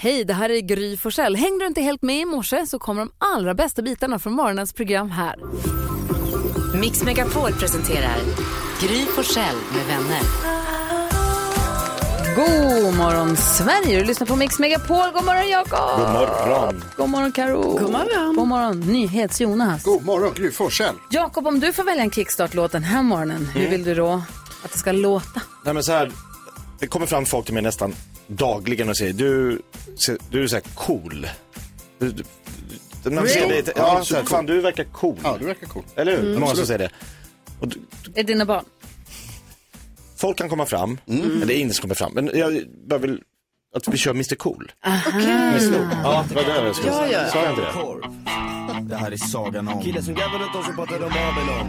Hej, det här är Gry Forssell. Hängde du inte helt med i morse så kommer de allra bästa bitarna från morgonens program här. Mix Megapol presenterar Gry Forssell med vänner. God morgon Sverige, du lyssnar på Mix Megapol. God morgon Jakob! God morgon. God morgon Karo. God morgon. God morgon NyhetsJonas. God morgon, Gry Forssell. Jakob, om du får välja en kickstart-låt den här morgonen, hur vill du då att det ska låta? Nej, men så här, det kommer fram folk till mig nästan dagligen och säger du, se- du är så här cool. Du, du, du, när de ser Really? dig, Ja, ja, så här, supercool. fan du verkar cool. Mm. Ja, du verkar cool. Eller hur? Många som Absolut. säger det. Är det dina barn? Folk kan komma fram, eller ingen som kommer fram. Men jag bara vill att vi kör Mr Cool. Med Mm. Snoop. Mm. Ja, det var det jag skulle säga. Sa jag inte det? Det här är sagan om Killen som gräver runt oss och pratar om Babylon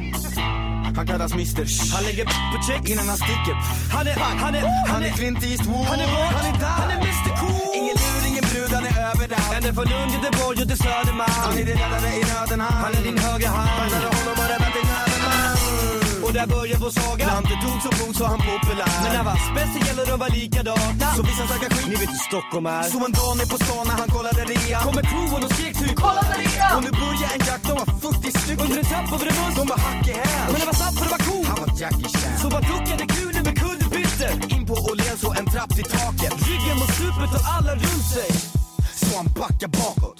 Han kallas Mr. Sh- Han lägger på check Innan han sticker Han är, han är, han Han är är Clint Eastwood Han är våt, han är där, han är Mr Cool Ingen Ingen lur, ingen brud, han är överallt Ända från Lund, Göteborg och till Han är Södermalm din räddare i nöden han Han är din högra hand Räddade honom och räddat din öde man Och där börjar vår saga Dante tog så fort så han populär Men när var speciella de var likadana Så vissa snackar skit Ni vet hur Stockholm är Så en dag ner på stan när han kollade rea Kommer crewen och skrek typ Kolla Maria! Och nu börjar en jakt, de var 40 Under stycken en trappa över en buss De var hack i häl Men det var snabbt och det var cool Han var Jackie Chan Så man duckade kulen med kullerbyttor In på Åhléns och en trapp till taket Ryggen mot stupet och alla runt sig Så han backar bakåt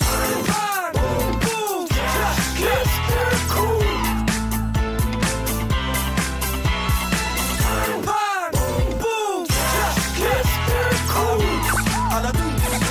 Alla dunkar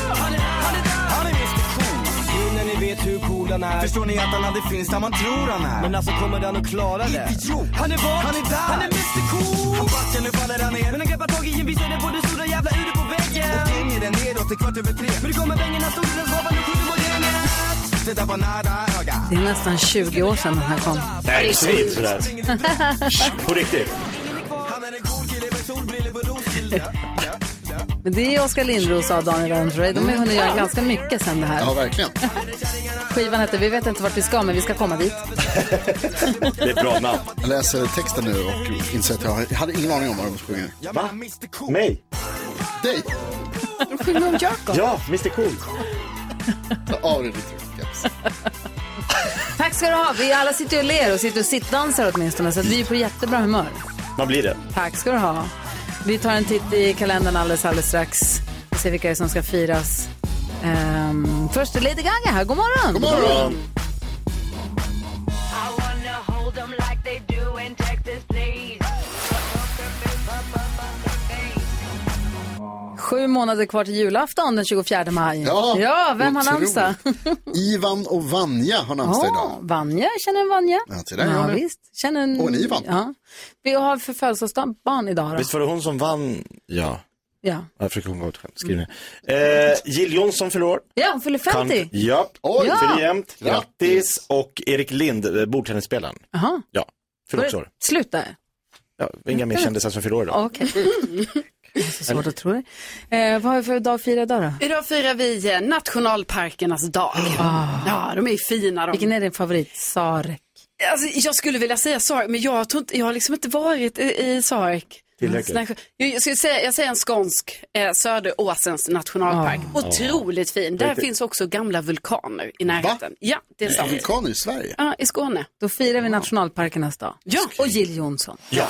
Han är Mr Cool. Jo, när ni vet hur cool han är. Förstår ni att han aldrig finns där man tror han är? Men alltså kommer han att klara det? Idiot. Han är vart, Han är där. han är Mr Cool. han backar, nu faller han Men ner. han greppar tag i en vis och det på det stora jävla huvudet på väggen. Och gänger den nedåt till kvart över tre. Men det kommer bängorna, stolen, svavan och skjuter mot det med. Det där var nära öga. Det är nästan 20 år sedan den här kom. Nej, säg inte sådär. På riktigt. Han är en cool kille med solbrillor på rosgilda. Men det är Oskar Lindros och Daniel André. De har ju hunnit göra ganska mycket sen det här. Ja, verkligen. Skivan heter Vi vet inte vart vi ska, men vi ska komma dit. Det är ett bra namn. Jag läser texten nu och inser att jag hade ingen aning om vad de sjunger. Jag menar Mr Cool. Mig? Dig! Sjunger om Jakob. Ja, Mr Cool. Ta av dig ditt jobbcaps. Tack ska du ha. Vi alla sitter ju och ler och sitter och sittdansar åtminstone, så att vi är på jättebra humör. Man blir det. Tack ska du ha. Vi tar en titt i kalendern alldeles, alldeles strax och ser vilka som ska firas. Ehm, först är Lady Gaga här. God morgon! God morgon! I wanna hold them like they do in Texas, please. Sju månader kvar till julafton den 24 maj. Ja, vem har otroligt. namnsdag? Ivan och Vanja har namnsdag Ja, idag. Vanja, känner du Vanja? Ja, till dig, Ronny. visst. Känner en... Och en Ivan. Ja. Vi har för födelsedagsbarn idag då. Visst var det hon som vann? Ja. Ja, Jag försöker komma ihåg ett skämt. Skriv ner. Eh, Jill Johnson förlorar. ja hon fyller 50. Ja, Oj. Ja. för jämnt. Grattis. Och Erik Lind, eh, bordtennisspelaren. Jaha, Ja, var fyller också det Mm. år. slut där? Ja, inga mer kändisar som fyller år idag. Okej. Det är så svårt att tro det. Eh, vad har vi för dag att fira idag då? Idag firar vi eh, nationalparkernas dag. Ja, de är ju fina de. Ah. Vilken är din favorit? Sarek. Alltså, jag skulle vilja säga Sark, men jag, tror inte, jag har liksom inte varit i, i Sark. Tillräckligt. Sån här- Jag, jag, skulle säga, jag säger en skånsk, eh, Söderåsens nationalpark. Ah. Otroligt fin. Där finns också gamla vulkaner i närheten. Ja, det är sant. Vulkan i Sverige. Ja, I Skåne. Då firar vi nationalparkernas dag. Ja. Och Jill Johnson. Ja.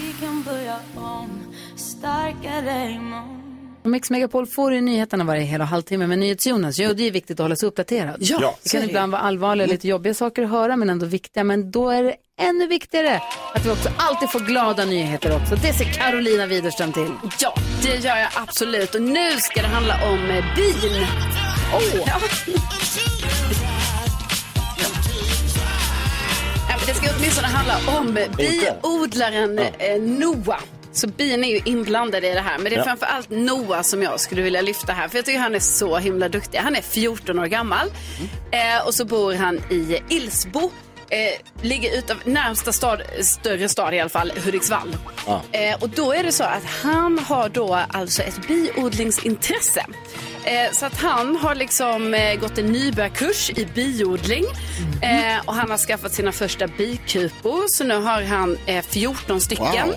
Vi kan börja om, starkare imorgon. Och Mix Megapol får ju nyheterna varje hel och halvtimme med NyhetsJonas. Jo, det är viktigt att hålla sig uppdaterad. Ja. Det kan ibland vara allvarliga, lite jobbiga saker att höra, men ändå viktiga. Men då är det ännu viktigare att vi också alltid får glada nyheter också. Det ser Carolina Widerström till. Ja, det gör jag absolut. Och nu ska det handla om eh, bin. Åh! Ja. Ja, men Det ska åtminstone handla om biodlaren eh, Noah. Så bin är ju inblandad i det här. Men det är Ja. framför allt Noah som jag skulle vilja lyfta här. För jag tycker han är så himla duktig. Han är 14 år gammal. Eh, och så bor han i Ilsbo. Eh, ligger utav närmsta stad, större stad i alla fall, Hudiksvall. Eh, och då är det så att han har då alltså ett biodlingsintresse. Eh, så att han har liksom eh, gått en nybörjarkurs i biodling eh, och han har skaffat sina första bikupor. Så nu har han eh, 14 stycken. Wow.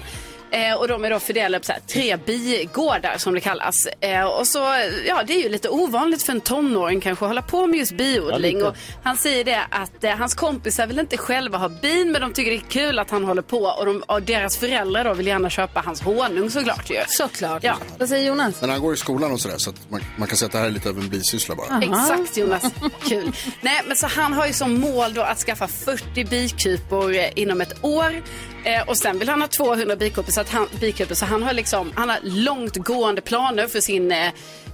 Eh, och de är då fördelade på så här, tre bigårdar som det kallas. Eh, och så, ja, det är ju lite ovanligt för en tonåring kanske att hålla på med just biodling. och han säger det att eh, hans kompisar vill inte själva ha bin men de tycker det är kul att han håller på och, de, och deras föräldrar då vill gärna köpa hans honung såklart ju. Såklart. Ja. Vad säger Jonas? Men han går i skolan och sådär så att man, man kan säga att det här är lite av en bisyssla bara. Exakt Jonas, kul. Nej, men så han har ju som mål då att skaffa 40 bikupor eh, inom ett år. Eh, och sen vill han ha 200 bikupor så, att han, bikupor, så han har liksom, han har långtgående planer för, sin, eh,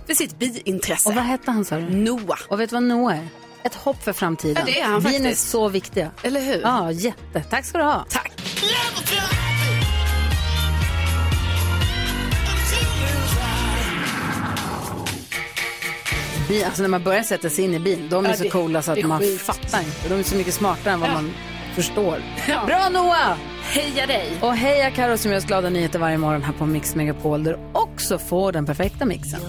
för sitt biintresse. Och vad hette han sa du? Noah. Och vet du vad Noah är? Ett hopp för framtiden. Ja, det är han Bin är faktiskt. så viktiga. Eller hur? Ja, jätte. Tack ska du ha. Tack. Bin, alltså när man börjar sätta sig in i bin, de är Ja, så det- coola så det att är man sjukt. fattar inte. De är så mycket smartare än vad Ja. man förstår. Ja. Bra Noah! Heja dig. Och heja Karo som gör oss glada nyheter varje morgon här på Mix Megapol där du också får den perfekta mixen.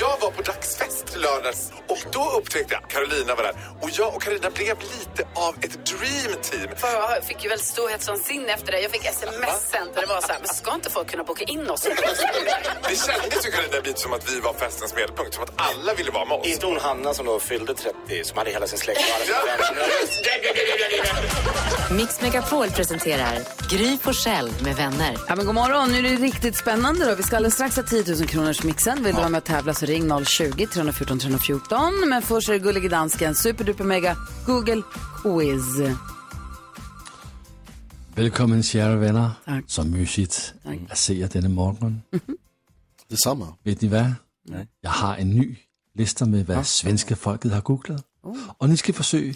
Jag var på dagsfest i lördags och då upptäckte jag att Carolina var där. Och jag och Carolina blev lite av ett dream team. För jag fick ju väldigt storhetsvansinne efter det. Jag fick sms sen där det var så här, men ska inte folk kunna boka in oss? Det kändes ju Carolina lite som att vi var festens medelpunkt, som att alla ville vara med oss. Inte hon Hanna som då fyllde 30, som hade hela sin släkt och alla sina vänner. Mix Megapol presenterar Gry på själv med vänner. Ja, men god morgon, nu är det riktigt spännande. Då. Vi ska alldeles strax ha 10 000 kronors mixen. Vill du vara med och tävla så ring 020-314 314. Men först är det Gullige Dansken, superduper mega Google Quiz. Velkommen, kære venner. Tak. Så mysigt at se jer denne morgen. Detsamma. Ved I hvad? Jeg har en ny liste med, hvad svenske folket har googlet. Oh. Og ni skal forsøge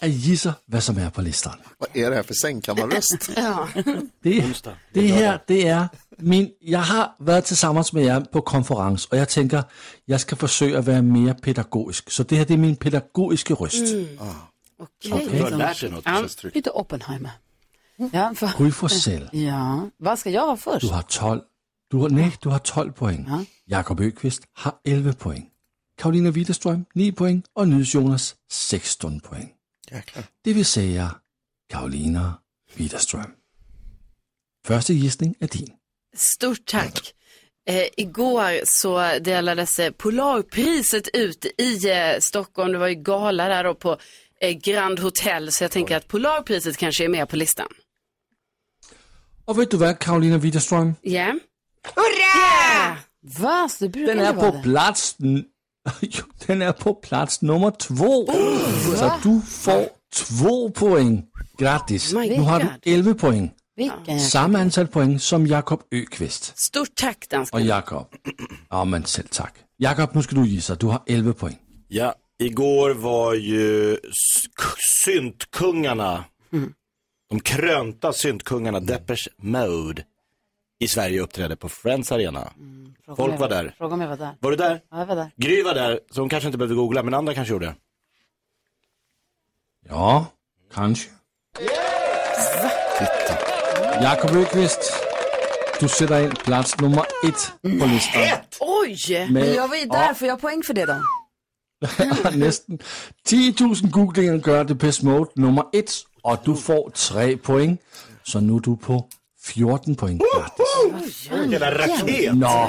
at gisse, hvad som er på listen. Vad är det här för sängkammarröst? Det, det her, det er min... Jeg har været til sammen med jer på konference, og jeg tænker, jeg skal forsøge at være mere pædagogisk. Så det her, det er min pædagogiske røst. Du har lärt dig något. Ja, känns tryggt. Lite Oppenheimer. Ja, för... Gry Forssell, ja, vad ska jag ha först? du har 12... Du har, nej, du har 12 point. Jakob Økvist har 11 point. Karolina Widerstrøm 9 point, og Nydes Jonas 16 point. Det vil sige, Karolina Widerstrøm. Første gissning er din. Stort tack. Eh, igår så delades eh, Polarpriset ut i eh, Stockholm. Det var ju gala där då på eh, Grand Hotel. Så jag tänker att Polarpriset kanske är med på listan. Og ved du hvad, Karolina Widerstrøm? Ja. Yeah. Va? Så det brukar Den inte er vara på det. plads... n- Jo, den er på plads nummer to. så du får to point. Gratis. My nu har du God. 11 point. Vilken jäkla- Samme antal point som Jakob Økvist. Stort tack Og dansken. Jakob. Ja, men selv tak. Jakob, nu skal du gisse. Du har 11 point. Ja, igår var ju s- k- syntkungarna, Mm. de krönta syntkungarna, Deppers Mode, i Sverige uppträdde på Friends Arena. Fråga om Folk jag var där. Fråga om jag var där. Var du där? Ja, jag var där. Gry var där, så hon kanske inte behövde googla, men andra kanske gjorde. Ja, kanskje. Jakob Økvist, du sætter ind plads nummer et på listen. Oj! Med Jag var ju där, får jag poäng för det då? næsten 10.000 googlinger gør det bedst mode nummer et, og du får tre point. Så nu er du på 14 point. Uh! gratis. Vilken raket! Nå,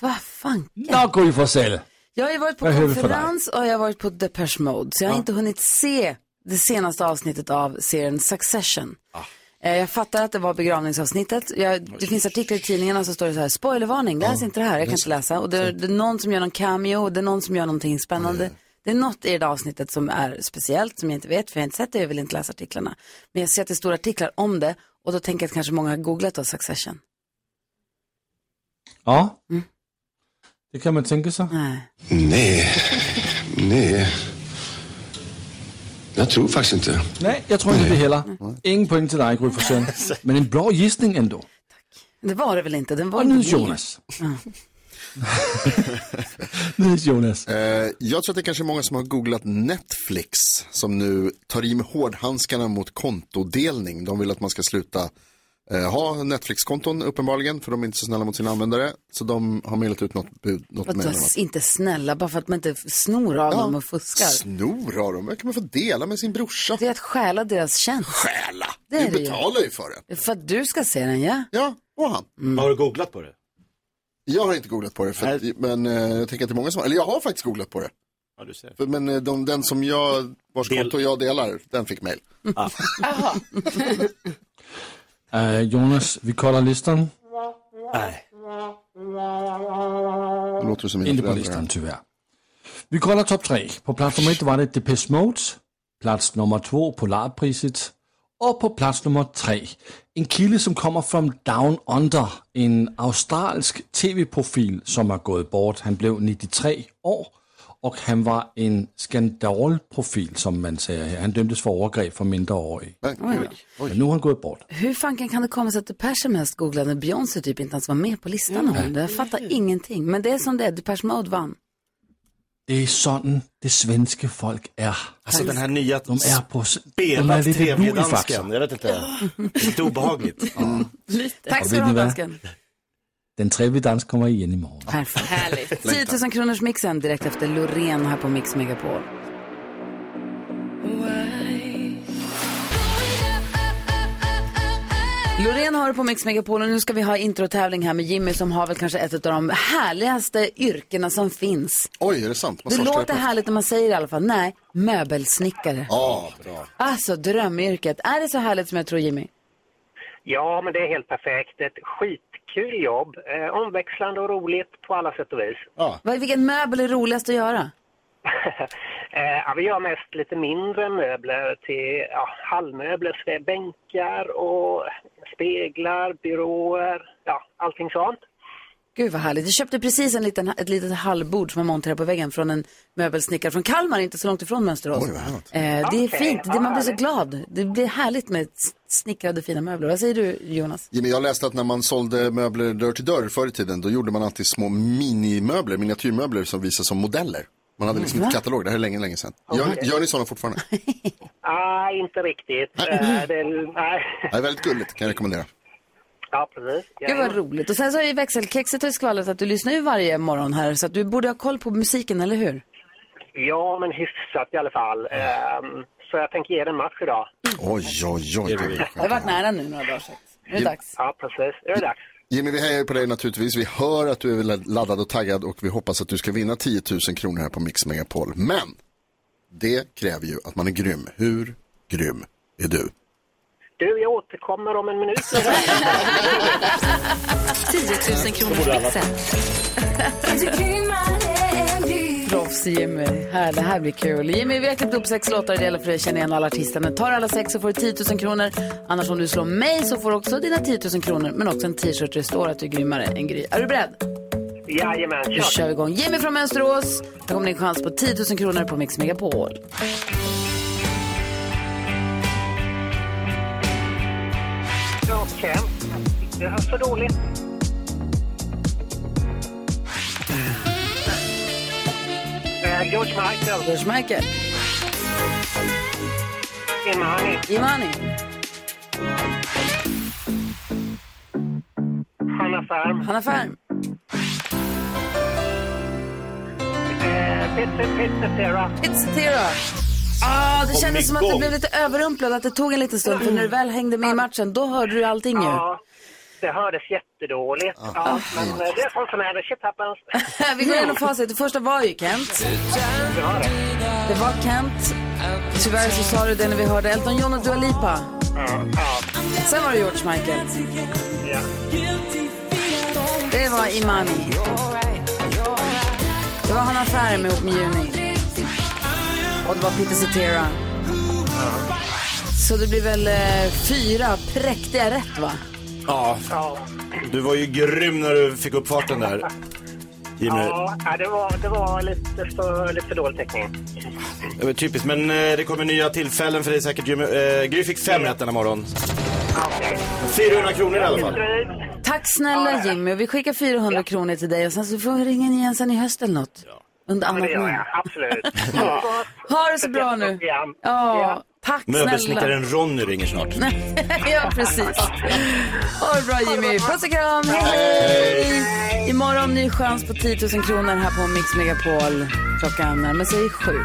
Vad fan? nå går I for selv. Jag har ju varit på Vad är huvudet för konferens och jag har varit på Depeche Mode, så jag har inte hunnit se det senaste avsnittet av serien Succession. Ah. Eh, Jag fattar att det var begravningsavsnittet. Jag, det finns artiklar i tidningarna som står det så här, spoilervarning, läs inte det här, jag kan inte läsa. Och det är, det är någon som gör någon cameo, och det är någon som gör någonting spännande. Det är något i det där avsnittet som är speciellt, som jag inte vet, för jag har inte sett det, jag vill inte läsa artiklarna. Men jag ser att det är stora artiklar om det, och då tänker jag att kanske många har googlat då Succession. Ja, det kan man tænke sig. Nej. Nej, nej. Jag tror faktiskt inte. Nej, jeg tror ikke det heller. Ingen point til dig, Gry for selv. Men en blå gissning endnu. Det var det väl inte, den var Og Nydes inte min. Jonas. Nydes Jonas. Eh, jag tror att det kanske är många som har googlat Netflix som nu tar i med hårdhandskarna mot kontodelning. De vill att man ska sluta eh, ha Netflix-konton uppenbarligen, för de är inte så snälla mot sina användare. Så de har mailat ut något bud, något Vadå, mejl. om s- att- inte snälla, bara för att man inte snor av dem och fuskar. Snor av dem, det kan man få dela med sin brorsa. Det är att stjäla deras tjänst. Stjäla, Det är du det ju. betalar ju för den. För att du ska se den, ja? Ja, och han. Mm. Har du googlat på det? Jag har inte googlat på det, för att, men eh, jag tänker att det är många som Eller jag har faktiskt googlat på det. Ja, du ser. För- Men eh, de, den som jag, vars konto jag delar, den fick mejl. Ah. Eh, Jonas, vi kollar listan. Nej. Det låter som mina Inte på föräldrar. listan tyvärr. Vi kollar topp tre. På plats nummer ett var det Depeche Mode. Plats nummer två Polarpriset. Och på plats nummer tre, en kille som kommer från Down Under, en australisk tv-profil som har gått bort. Han blev 93 år och han var en skandalprofil som man säger här. Han dömdes för övergrepp för minderåriga. Men nu har han gått bort. Hur fanken kan det komma sig att Depeche är mest googlade när Beyoncé typ inte ens var med på listan? Mm. Jag fattar ingenting. Men det är som det är, Depeche Mode vann. Det är sådan det svenska folk är. Alltså den här nya De är på... spelat lite tv-dansken. lurifaxar. Jag vet inte. Lite obehagligt. Tack Och ska vet du ha, ni vad? dansken. Den trevliga dans kommer igen imorgon. Perfekt. Härligt. 10 000 kronors mixen direkt efter Loreen här på Mix Megapol. Loreen har det på Mix Megapol och nu ska vi ha introtävling här med Jimmy som har väl kanske ett av de härligaste yrkena som finns. Oj, är det sant? Det sorts- låter härligt när man säger det i alla fall. Nej, möbelsnickare. Ja, bra. Alltså drömyrket. Är det så härligt som jag tror Jimmy? Ja, men det är helt perfekt. Ett skitkul jobb. Eh, omväxlande och roligt på alla sätt och vis. Vad- Vilken möbel är roligast att göra? Eh, ja, vi gör mest lite mindre möbler till ja, hallmöbler, så det är bänkar och speglar, byråer, ja, allting sånt. Gud vad härligt. Jag köpte precis en liten, ett litet hallbord som man monterar på väggen från en möbelsnickare från Kalmar, inte så långt ifrån Mönsterås. eh, det är Okej, fint, det, vad man blir så härligt. glad. Det blir härligt med s- snickrade fina möbler. Vad säger du Jonas? Jimmy, jag läste att när man sålde möbler dörr till dörr förr i tiden, då gjorde man alltid små minimöbler, miniatyrmöbler som visas som modeller. Man hade liksom Va? ett katalog, det här är länge, länge sedan. Gör, gör ni sådana fortfarande? Nej, inte riktigt. Eh, det, nej. Det är väldigt gulligt, kan jag rekommendera. Ja, precis. Ja, Gud vad roligt. Och sen så har ju växelkexet och skvallrat att du lyssnar ju varje morgon här så att du borde ha koll på musiken, eller hur? ja, men hyfsat i alla fall. Ehm, så jag tänker ge den en match idag. Oj, oj, oj. Jag har varit nära nu några dagar. så att Nu är det dags. Ja, precis. Nu är det dags. Jimmy, vi hejar ju på dig naturligtvis. Vi hör att du är laddad och taggad och vi hoppas att du ska vinna 10 000 kronor här på Mix Megapol. Men det kräver ju att man är grym. Hur grym är du? Du, jag återkommer om en minut. 10 000 kronors mixen. Proffs Jimmy. Här, det här blir kul. Jimmy, vi har klippt upp sex låtar. Det gäller för dig att känna igen alla artisterna. Tar alla sex så får du 10 000 kronor. Annars om du slår mig så får du också dina 10 000 kronor. Men också en t-shirt där det står att du är grymmare än Gry. Är du beredd? Jajamän, Då kör. kör vi igång. Jimmy från Mönsterås. Här kommer din chans på 10 000 kronor på Mix Megapol. Okej. Det hörs så dåligt. Eh, George Michael, George Michael. Imani, Imani. Hanna Färm, Hanna Färm. eh, Peter Petzera, Pizzatira. Ah, det Kom kändes som att du igång. blev lite överrumplad, att det tog en liten stund. För när du väl hängde med i matchen, då hörde du allting ju. Mm. ja. Det hördes jättedåligt. Ja, men eh, det är sånt som händer. Shit happens. Vi går igenom facit. Det första var ju Kent. Det var det. Det var Kent. Tyvärr så sa du det när vi hörde Elton John och Dua Lipa. Sen var det George Michael. Ja. Det var Imani. Det var Hanna Färm ihop med Juni. Och det var Peter Cetera. Så det blir väl eh, fyra präktiga rätt, va? Ja, Ja, du var ju grym när du fick upp farten där. Jimmy. ja ja, det, var, det var lite för, lite för dålig täckning. Det var typiskt, men eh, det kommer nya tillfällen för dig säkert Jimmy. Eh, Gry fick fem rätt denna morgon. Okej. 400 kronor i alla fall. Tack snälla Jimmy. Och vi skickar 400 kronor till dig och sen så får vi ringa in igen sen i höst eller något. Under Ja, annat det gör namn. jag. Absolut. Ja. Ha det så bra nu. Ja. Ja, Tack snälla. Möbelsnickaren Ronny ringer snart. ja, precis. Ha det bra Jimmy. Puss och kram. Hej, hej. Imorgon ny chans på 10 000 kronor här på Mix Megapol. Klockan närmar sig sju.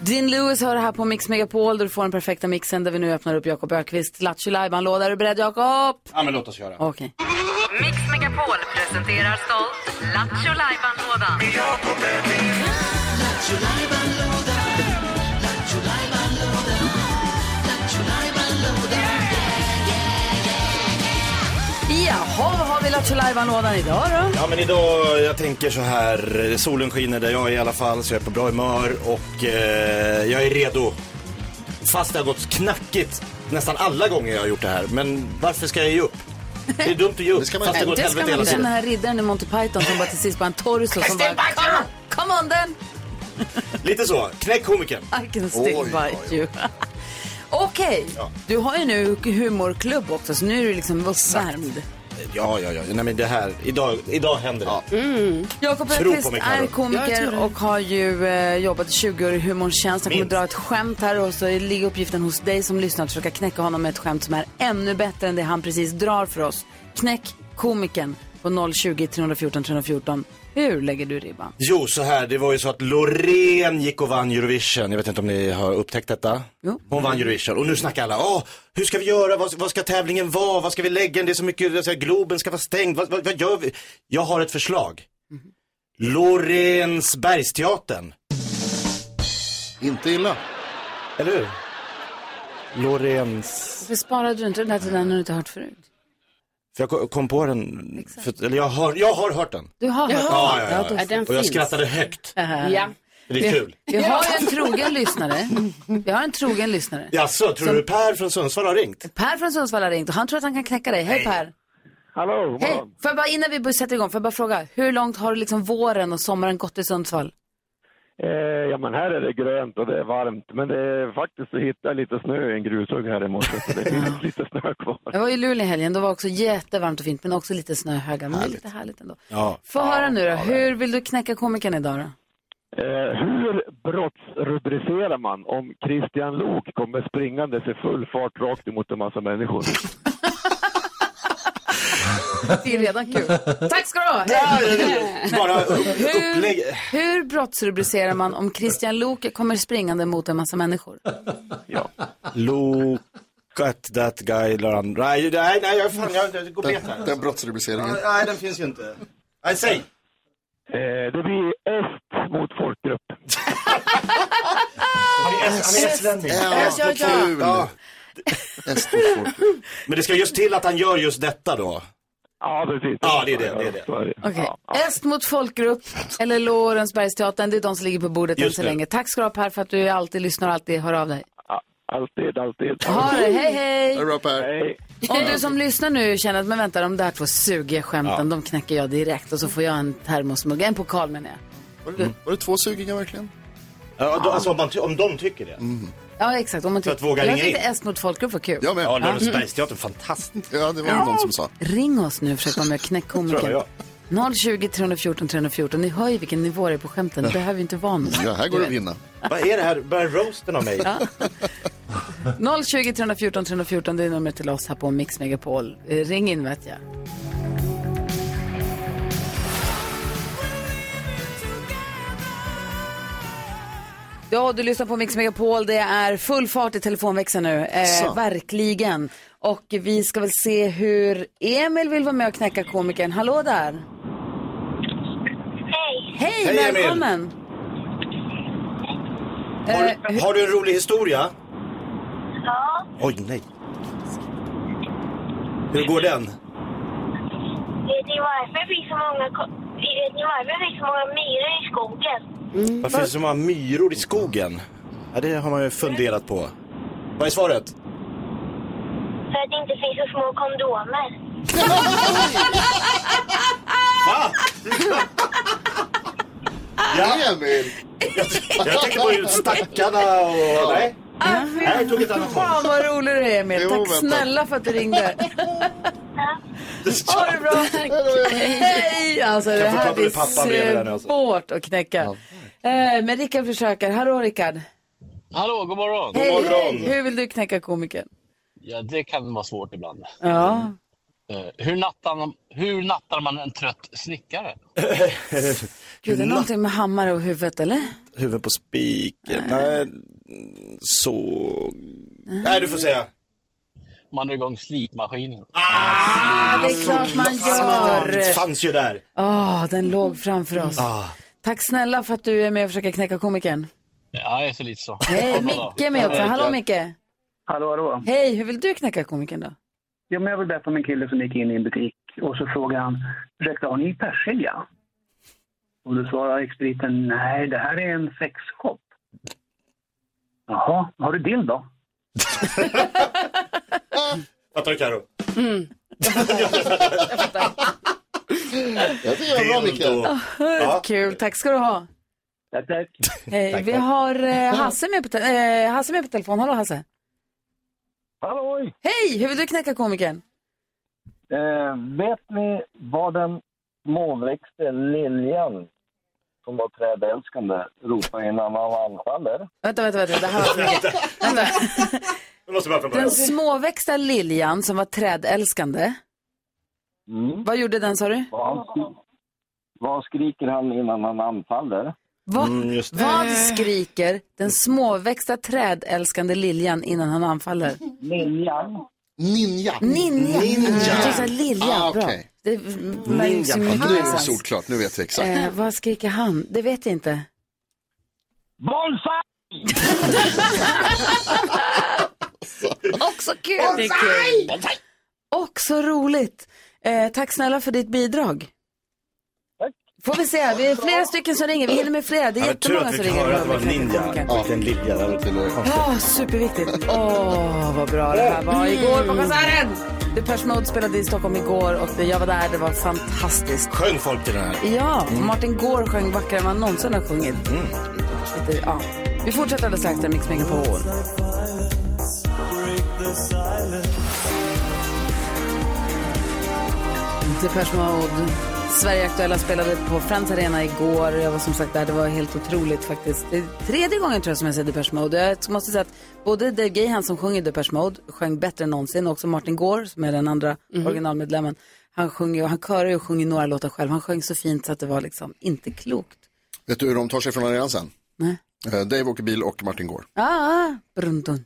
Din Lewis hör här på Mix Megapol där du får den perfekta mixen där vi nu öppnar upp Jakob Ökvist Lattjo Lajban-låda. Är du beredd Jakob? Ja, men låt oss göra. Okej. Mix Megapol presenterar stolt Lattjo Lajban-lådan. Jaha, vad har vi Lattjo Lajban-lådan idag då? Ja men idag, jag tänker så här, solen skiner där jag är i alla fall så jag är på bra humör och eh, jag är redo. Fast det har gått knackigt nästan alla gånger jag har gjort det här. Men varför ska jag ge upp? Det är dumt att ge upp. ska fast det går åt det ska helvete man hela inte. Den tiden. här riddaren i Monty Python som bara till sist bara en torso som bara... Come on, come on then! Lite så, knäck komikern. I can still bite you. Okej, du har ju nu humorklubb också så nu är du liksom uppvärmd. Ja, ja, ja. Nej men det här, idag, idag händer det. Mm. Jakob Tro på Öqvist mig, Karo. är Ja, jag tror komiker det. och har ju eh, jobbat i 20 år i humorns tjänst. Jag kommer dra ett skämt här och så ligger uppgiften hos dig som lyssnar att försöka knäcka honom med ett skämt som är ännu bättre än det han precis drar för oss. Knäck komikern på 020 314 314. Hur lägger du ribban? Jo, så här, det var ju så att Loreen gick och vann Eurovision. Jag vet inte om ni har upptäckt detta. Hon vann Eurovision och nu snackar alla, Åh, hur ska vi göra, vad, vad ska tävlingen vara, vad ska vi lägga den, det är så mycket, det är så här, Globen ska vara stängd, vad, vad, vad gör vi? Jag har ett förslag. Lorensbergsteatern. Inte illa. Eller hur? Lorens... Varför sparade du inte den här till den när du inte hört förut? För jag ko- kom på den, för, eller jag har, jag har hört den. Du har hört Ja, ja, ja. då- Ja, den Och jag finns. skrattade högt. Äh. Ja. Det är kul. Vi har ju en trogen lyssnare. Vi har en trogen lyssnare. Jaså, tror Som- du Per från Sundsvall har ringt? Per från Sundsvall har ringt och han tror att han kan knäcka dig. Hej Per! Hallå, Hej! Får jag bara, innan vi börjar sätta igång, får jag bara fråga, hur långt har liksom våren och sommaren gått i Sundsvall? Eh, ja men här är det grönt och det är varmt men det är faktiskt så hittade jag lite snö i en grushugg här i morse så det finns lite snö kvar. Jag var i Luleå i helgen, då var det också jättevarmt och fint, men också lite snöhögar. Men det är lite härligt ändå. Ja. Få höra nu då, hur vill du knäcka komikern idag då? Eh, hur brottsrubricerar man om Christian Lok kommer springandes i full fart rakt emot en massa människor? Det är redan kul. Tack ska du ha! Ja, Hej. ja, ja. Bara upp- upplägg. hur, hur brottsrubricerar man om Christian Lok kommer springande mot en massa människor? Look at that guy, Laran. Nej, nej, nej, jag, fan, jag, jag går bet här. Den, den brottsrubriceringen. Nej, den finns ju inte. Nej, säg. Eh, det blir est mot folkgrupp. Han är estlänning. Ja, Ja, vad kul. ja. Men det ska just till att han gör just detta då. Ja, precis. Ja, det är det. det, är det. Okej, Est mot folkgrupp eller Lorensbergsteatern, det är de som ligger på bordet än Just så det. länge. Tack ska du ha Per för att du alltid lyssnar och alltid hör av dig. Alltid, alltid. Ha det, hej, hej. Ha det bra, Per. Om du som lyssnar nu känner att, men vänta, de där två sugiga skämten, de knäcker jag direkt och så får jag en termosmugg, en pokal menar jag. Var det, var det två sugingar verkligen? Mhm. Ja, då, alltså om, man ty- om de tycker det. Ja, exakt. Om man För att tycker- våga jag ringa tyckte in. S mot folkgrupp var kul. Jag med. Ja, Mm. Lorensbergsteatern, fantastiskt. Ja, det var Ja. någon som sa. Ring oss nu och försök vara med och knäck Tror komikern. jag, 020 314 314. Ni hör ju vilken nivå det är på skämten. Det behöver ju inte vara någon. Ja, här går det att vinna. Vad är det här? Börjar roasten av mig? Ja. 020 314 314, det är numret till oss här på Mix Megapol. Eh, Ring in vet jag. Ja, du lyssnar på Mix Megapol. Det är full fart i telefonväxeln nu. Så. Eh, verkligen. Och vi ska väl se hur Emil vill vara med och knäcka komikern. Hallå där! Hej! Hej, Hej, Emil. välkommen! Eh, Har, du- har du en rolig historia? Ja, Oj, nej. Hur går den? vet ni varför det finns så många, ko- vet ni varför det finns så många myror i skogen? Mm. Varför finns det så många myror i skogen? Ja, det har man ju funderat på. Vad är svaret? För att det inte finns så små kondomer. Ja. Emil! Jag tänker på ut stackarna och... Nej. Nej, jag tog ett annat Fan vad rolig du är Emil. Jo, Tack vänta. snälla för att du ringde. Ha det bra. Hej! Alltså Kan det jag få här prata med pappa bredvid där nu, blir alltså? svårt att knäcka. Eh, Men Rickard försöker. Hallå Rickard. Hallå, god morgon. Hej, hej. Hur vill du knäcka komikern? Ja, det kan vara svårt ibland. Ja. Eh, Hur nattar, hur nattar man en trött snickare? Gud, det är någonting med hammare och huvudet eller? Huvud på spiken. Nej, så... Nej, du får säga. Man är igång slipmaskinen. Ja, Ah, det är klart man Alltså, Det gör. fanns ju där. Åh, den låg framför oss. Ah. Tack snälla för att du är med och försöker knäcka komikern. Ja, jag är så lite så. Hej, Micke är med också. Hallå Micke. Hallå, hallå. Hej, hur vill du knäcka komikern då? Ja, men jag vill berätta om en kille som gick in i en butik och så frågade han, ursäkta, har ni persilja? Och då svarade expediten, nej, det här är en sexshop. Jaha, har du dildo? Fattar du Carro? Mm. Jag tycker det var bra, Mikael. Ah, Ja. Kul, tack ska du ha. Hej, vi har eh, Hasse, med på te- eh, Hasse med på telefon. Hallå Hasse. Halloj! Hej, hur vill du knäcka komikern? Eh, vet ni vad den månväxte liljan som var trädälskande ropar innan han anfaller? Vänta, vänta, vänta. Det här var... Nu måste jag börja från Den början. småväxta liljan som var trädälskande. Vad gjorde den sa du? Vad, Mm. han- vad skriker han innan han anfaller? Va? Eh. Vad skriker den småväxta trädälskande liljan innan han anfaller? Ninjan. Ninja. Ninja. Ninja. Jag tror så här, lilja, Ah, bra. okej. Det är- Ninja. märks Ja, ju Nu mycket är det någonstans. solklart, nu vet jag exakt. Eh, vad skriker han? Det vet jag inte. Bonsai! Också kul. Det är kul. Också roligt. Eh, tack snälla för ditt bidrag. Får vi se, vi är flera stycken som ringer. Vi hinner med flera. Det är Ja, men tur jättemånga att vi som fick ringer. höra att det var ninja och inte en lilja. Det var lite konstigt. Ja, superviktigt. Åh, vad bra det här var igår på konserten. Depeche Mode spelade i Stockholm igår och jag var där. Det var fantastiskt. Sjöng Mm. folk till den här? Ja, och Martin Gore sjöng vackrare än man någonsin har sjungit. Mm. Lite, ja. Vi fortsätter alldeles strax med Mix Megapol. Depeche Mode. Sverige Aktuella spelade på Friends Arena igår. Jag var som sagt där. Det var helt otroligt faktiskt. Det är tredje gången tror jag som jag ser Depeche Mode. Jag måste säga att både Dave Gahan som sjunger Depeche Mode sjöng bättre än någonsin. Och också Martin Gore som är den andra originalmedlemmen. Han sjunger, och han körar ju och sjunger några låtar själv. Han sjöng så fint så att det var liksom inte klokt. Vet du hur de tar sig från arenan sen? Nej. Eh, Dave åker bil och Martin går. Ah, brum, dun.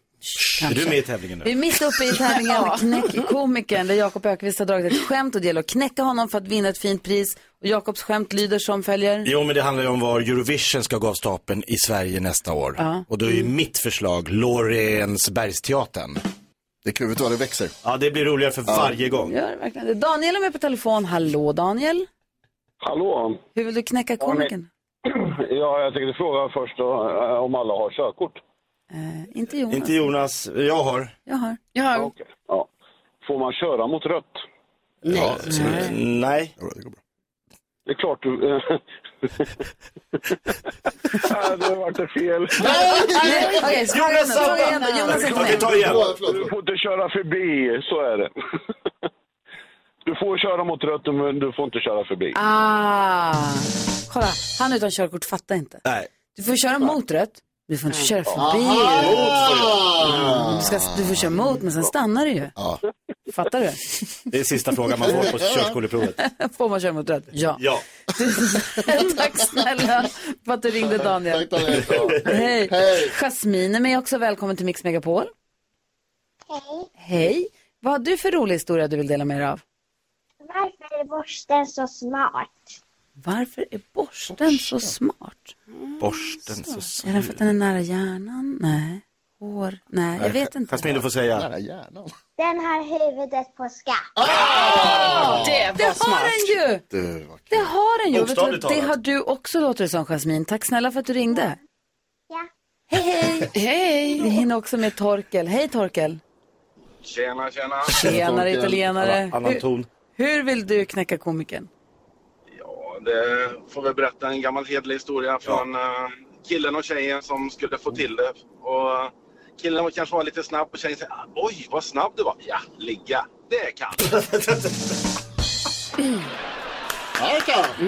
Är du med i tävlingen Vi är mitt uppe i tävlingen Knäck komikern där Jakob Ökvist har dragit ett skämt och det gäller att knäcka honom för att vinna ett fint pris. Och Jakobs skämt lyder som följer. Jo, men det handlar ju om var Eurovision ska gå av stapeln i Sverige nästa år. Ja. Mm. Och då är ju mitt förslag Lorensbergsteatern. Det är kluvet vad det växer. Ja, det blir roligare för varje gång. Gör det verkligen det. Daniel är med på telefon. Hallå Daniel. Hallå! Hur vill du knäcka komikern? Ja, jag tänkte fråga först då, eh, om alla har körkort. Eh, inte Jonas. Inte Jonas, jag har. Jag har. Jag har. Ja. Får man köra mot rött? Nej. Ja, absolut. Nej. Det är klart du... Nej, det vart fel. Nej, okej, så fråga igen då, fråga igen då. Jonas är inte med. Du får inte köra förbi, så är det. Du får köra mot rött, men du får inte köra förbi. Ah, kolla. Han utan körkort fattar inte. Nej. Du får köra mot rött. Du får inte köra förbi. Aha! Mm, Du, ska, du får köra mot, men sen stannar du ju. Ja. Fattar du? Det är sista frågan man får på körskoleprovet. Får man köra mot rött? Ja. Ja. Tack snälla för att du ringde Daniel. Hej. Jasmine är med också. Välkommen till Mix Megapol. Hej. Hej. Vad har du för rolig historia du vill dela med dig av? Varför är borsten så smart? Varför är borsten så smart? Borsten så Är den för att den är nära hjärnan? Nej. Hår? Nej, jag vet inte. Jasmine, du får säga. Den har huvudet på skaft. Det, Det har den ju! Du, vad- Det har den ju. Vet du vad, Bokstavligt det talat. har du också låter det som Jasmine. Tack snälla för att du ringde. Ja. Hej, hej! Hej! Vi hinner också med Torkel. Hej Torkel! Tjena, tjena. Tjenare italienare. Annan Hur- ton. Hur vill du knäcka komikern? Ja, det får väl berätta en gammal hederlig historia från eh, killen och tjejen som skulle få till det. Och eh, killen var- kanske var lite snabb och tjejen säger "Ah, oj vad snabb du var. Ja, ligga, det kan du." Mm.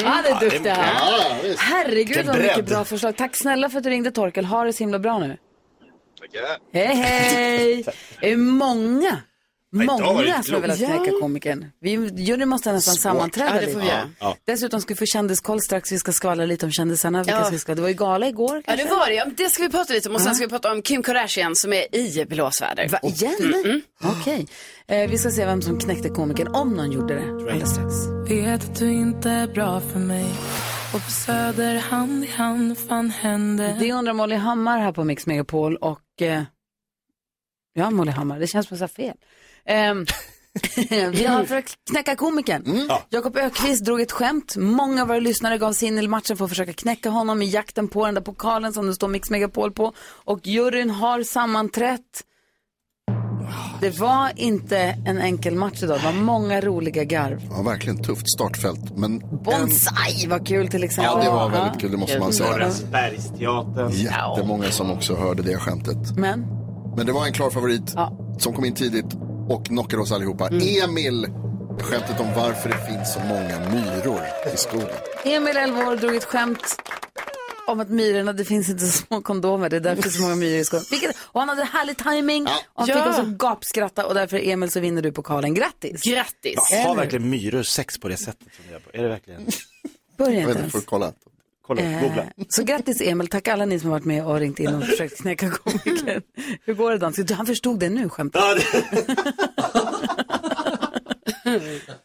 Ja, det är duktiga. Ja, visst. Herregud Vilken vad mycket bredd. bra förslag. Tack snälla för att du ringde Torkel. Ha det så himla bra nu. Tackar. Hej, hej! Det är många, Nej, idag var det många inte som har velat klokt. knäcka komikern. Vi, Juryn måste nästan Svårt. sammanträda Ja, det får vi lite. göra. Ja. Dessutom ska vi få kändiskoll strax. Vi ska skvallra lite om kändisarna. Vilka Ja. som ska. Det var ju gala igår Ja, kanske? det var det. Ja, men det ska vi prata lite om. Och sen Ja. ska vi prata om Kim Kardashian som är i blåsväder. Mm, Va, igen? Okej. Eh, vi ska se vem som knäckte komikern, om någon gjorde det. Alldeles strax. Vet att du inte är bra för mig Och på Söder hand i hand fan hände Det undrar Molly Hammar här på Mix Megapol och... Eh, ja, Molly Hammar, det känns som att jag sa fel. Ehm, vi har för att knäcka komikern. Jakob Ökvist drog ett skämt. Många av våra lyssnare gav sig in i matchen för att försöka knäcka honom i jakten på den där pokalen som det står Mix Megapol på. Och juryn har sammanträtt. Det var inte en enkel match idag. Det var många roliga garv. Ja, verkligen tufft startfält. Men Bonsai var kul till exempel. Ja, det var väldigt kul, det måste man säga. Norrensbergsteatern. Jättemånga som också hörde det skämtet. Men? Men det var en klar favorit som kom in tidigt och knockade oss allihopa. Emil, skämtet om varför det finns så många myror i skogen. Emil, 11 år, drog ett skämt om att myrorna, det finns inte så små kondomer, det är därför så många myror i skogen. Vilket, och han hade härlig timing och han Ja. fick oss att gapskratta och därför Emil så vinner du pokalen. Grattis! Grattis! Har verkligen myror sex på det sättet som ni gör på? Är det verkligen? Börja inte ens. kolla. Kolla, googla. Eh, så grattis Emil, tack alla ni som har varit med och ringt in och försökt knäcka komikern. Hur går det dansken? Du, Han förstod det nu skämtet.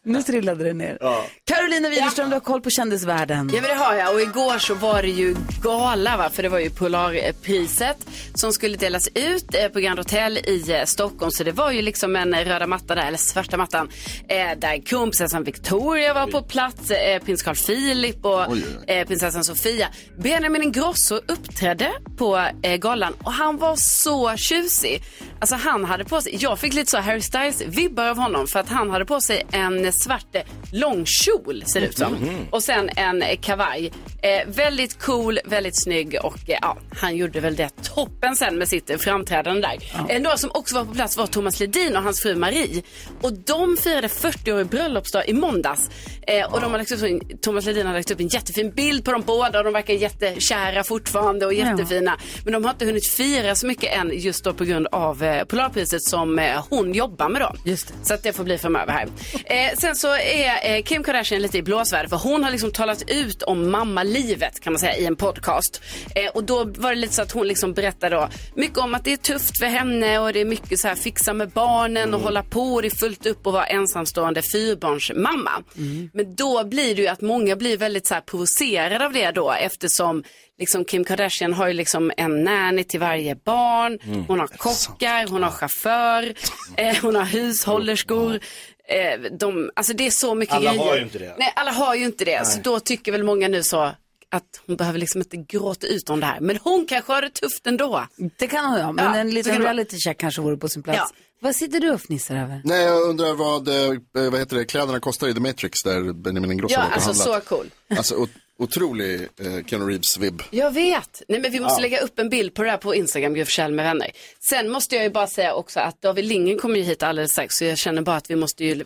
nu trillade det ner. Carolina Widerström, du har koll på kändisvärlden. Ja men det har jag och igår så var det ju gala va? för det var ju Polarpriset som skulle delas ut eh, på Grand Hotel i eh, Stockholm så det var ju liksom en eh, röda matta där, eller svarta mattan eh, där kronprinsessan Victoria var på plats, eh, prins Carl Philip och Oj, eh, prinsessan Sofia. Benjamin Ingrosso uppträdde på eh, galan och han var så tjusig. Alltså han hade på sig, jag fick lite så Harry Styles-vibbar av honom för att han hade på sig en svart eh, långkjol ser det ut som. Mhm. Och sen en eh, kavaj. Eh, väldigt cool, väldigt snygg och eh, ja, han gjorde väl det toppen sen med sitt eh, framträdande där. En dag som också var på plats var Thomas Ledin och hans fru Marie. Och de firade 40-årig bröllopsdag i måndags. Eh, och de har lagt upp, en- Thomas Ledin har lagt upp en jättefin bild på dem båda och de verkar jättekära fortfarande och Ja. jättefina. Men de har inte hunnit fira så mycket än just då på grund av eh, Polarpriset som eh, hon jobbar med då. Så att det får bli framöver här. Eh, sen så är eh, Kim Kardashian lite i blåsväder för hon har liksom talat ut om mammalivet kan man säga i en podcast. Eh, och då var det lite så att hon liksom berättade då mycket om att det är tufft för henne och det är mycket så här fixa med barnen och hålla på och det är fullt upp att vara ensamstående fyrbarnsmamma. Mm. Men då blir det ju att många blir väldigt så här provocerade av det då eftersom liksom Kim Kardashian har ju liksom en nanny till varje barn. Mm. Hon har kockar, hon har chaufför, eh, hon har hushållerskor. Eh, de, alltså det är så mycket Alla grejer. har ju inte det. Nej, alla har ju inte det. Så Nej. då tycker väl många nu så att hon behöver liksom inte gråta ut om det här. Men hon kanske har det tufft ändå. Det kan hon ja, men Ja, en så liten kan det vara. reality check kanske vore på sin plats. Vad sitter du och fnissar över? Nej, jag undrar vad, eh, vad heter det, kläderna kostar i The Matrix där Benjamin Ingrosso Ja, var på alltså så handlat. cool. Alltså o- otrolig eh, Keanu Reeves-vibb. Jag vet. Nej, men vi måste Ja. lägga upp en bild på det här på Instagram, Gud Forssell med vänner. Sen måste jag ju bara säga också att David Lindgren kommer ju hit alldeles strax, så jag känner bara att vi måste ju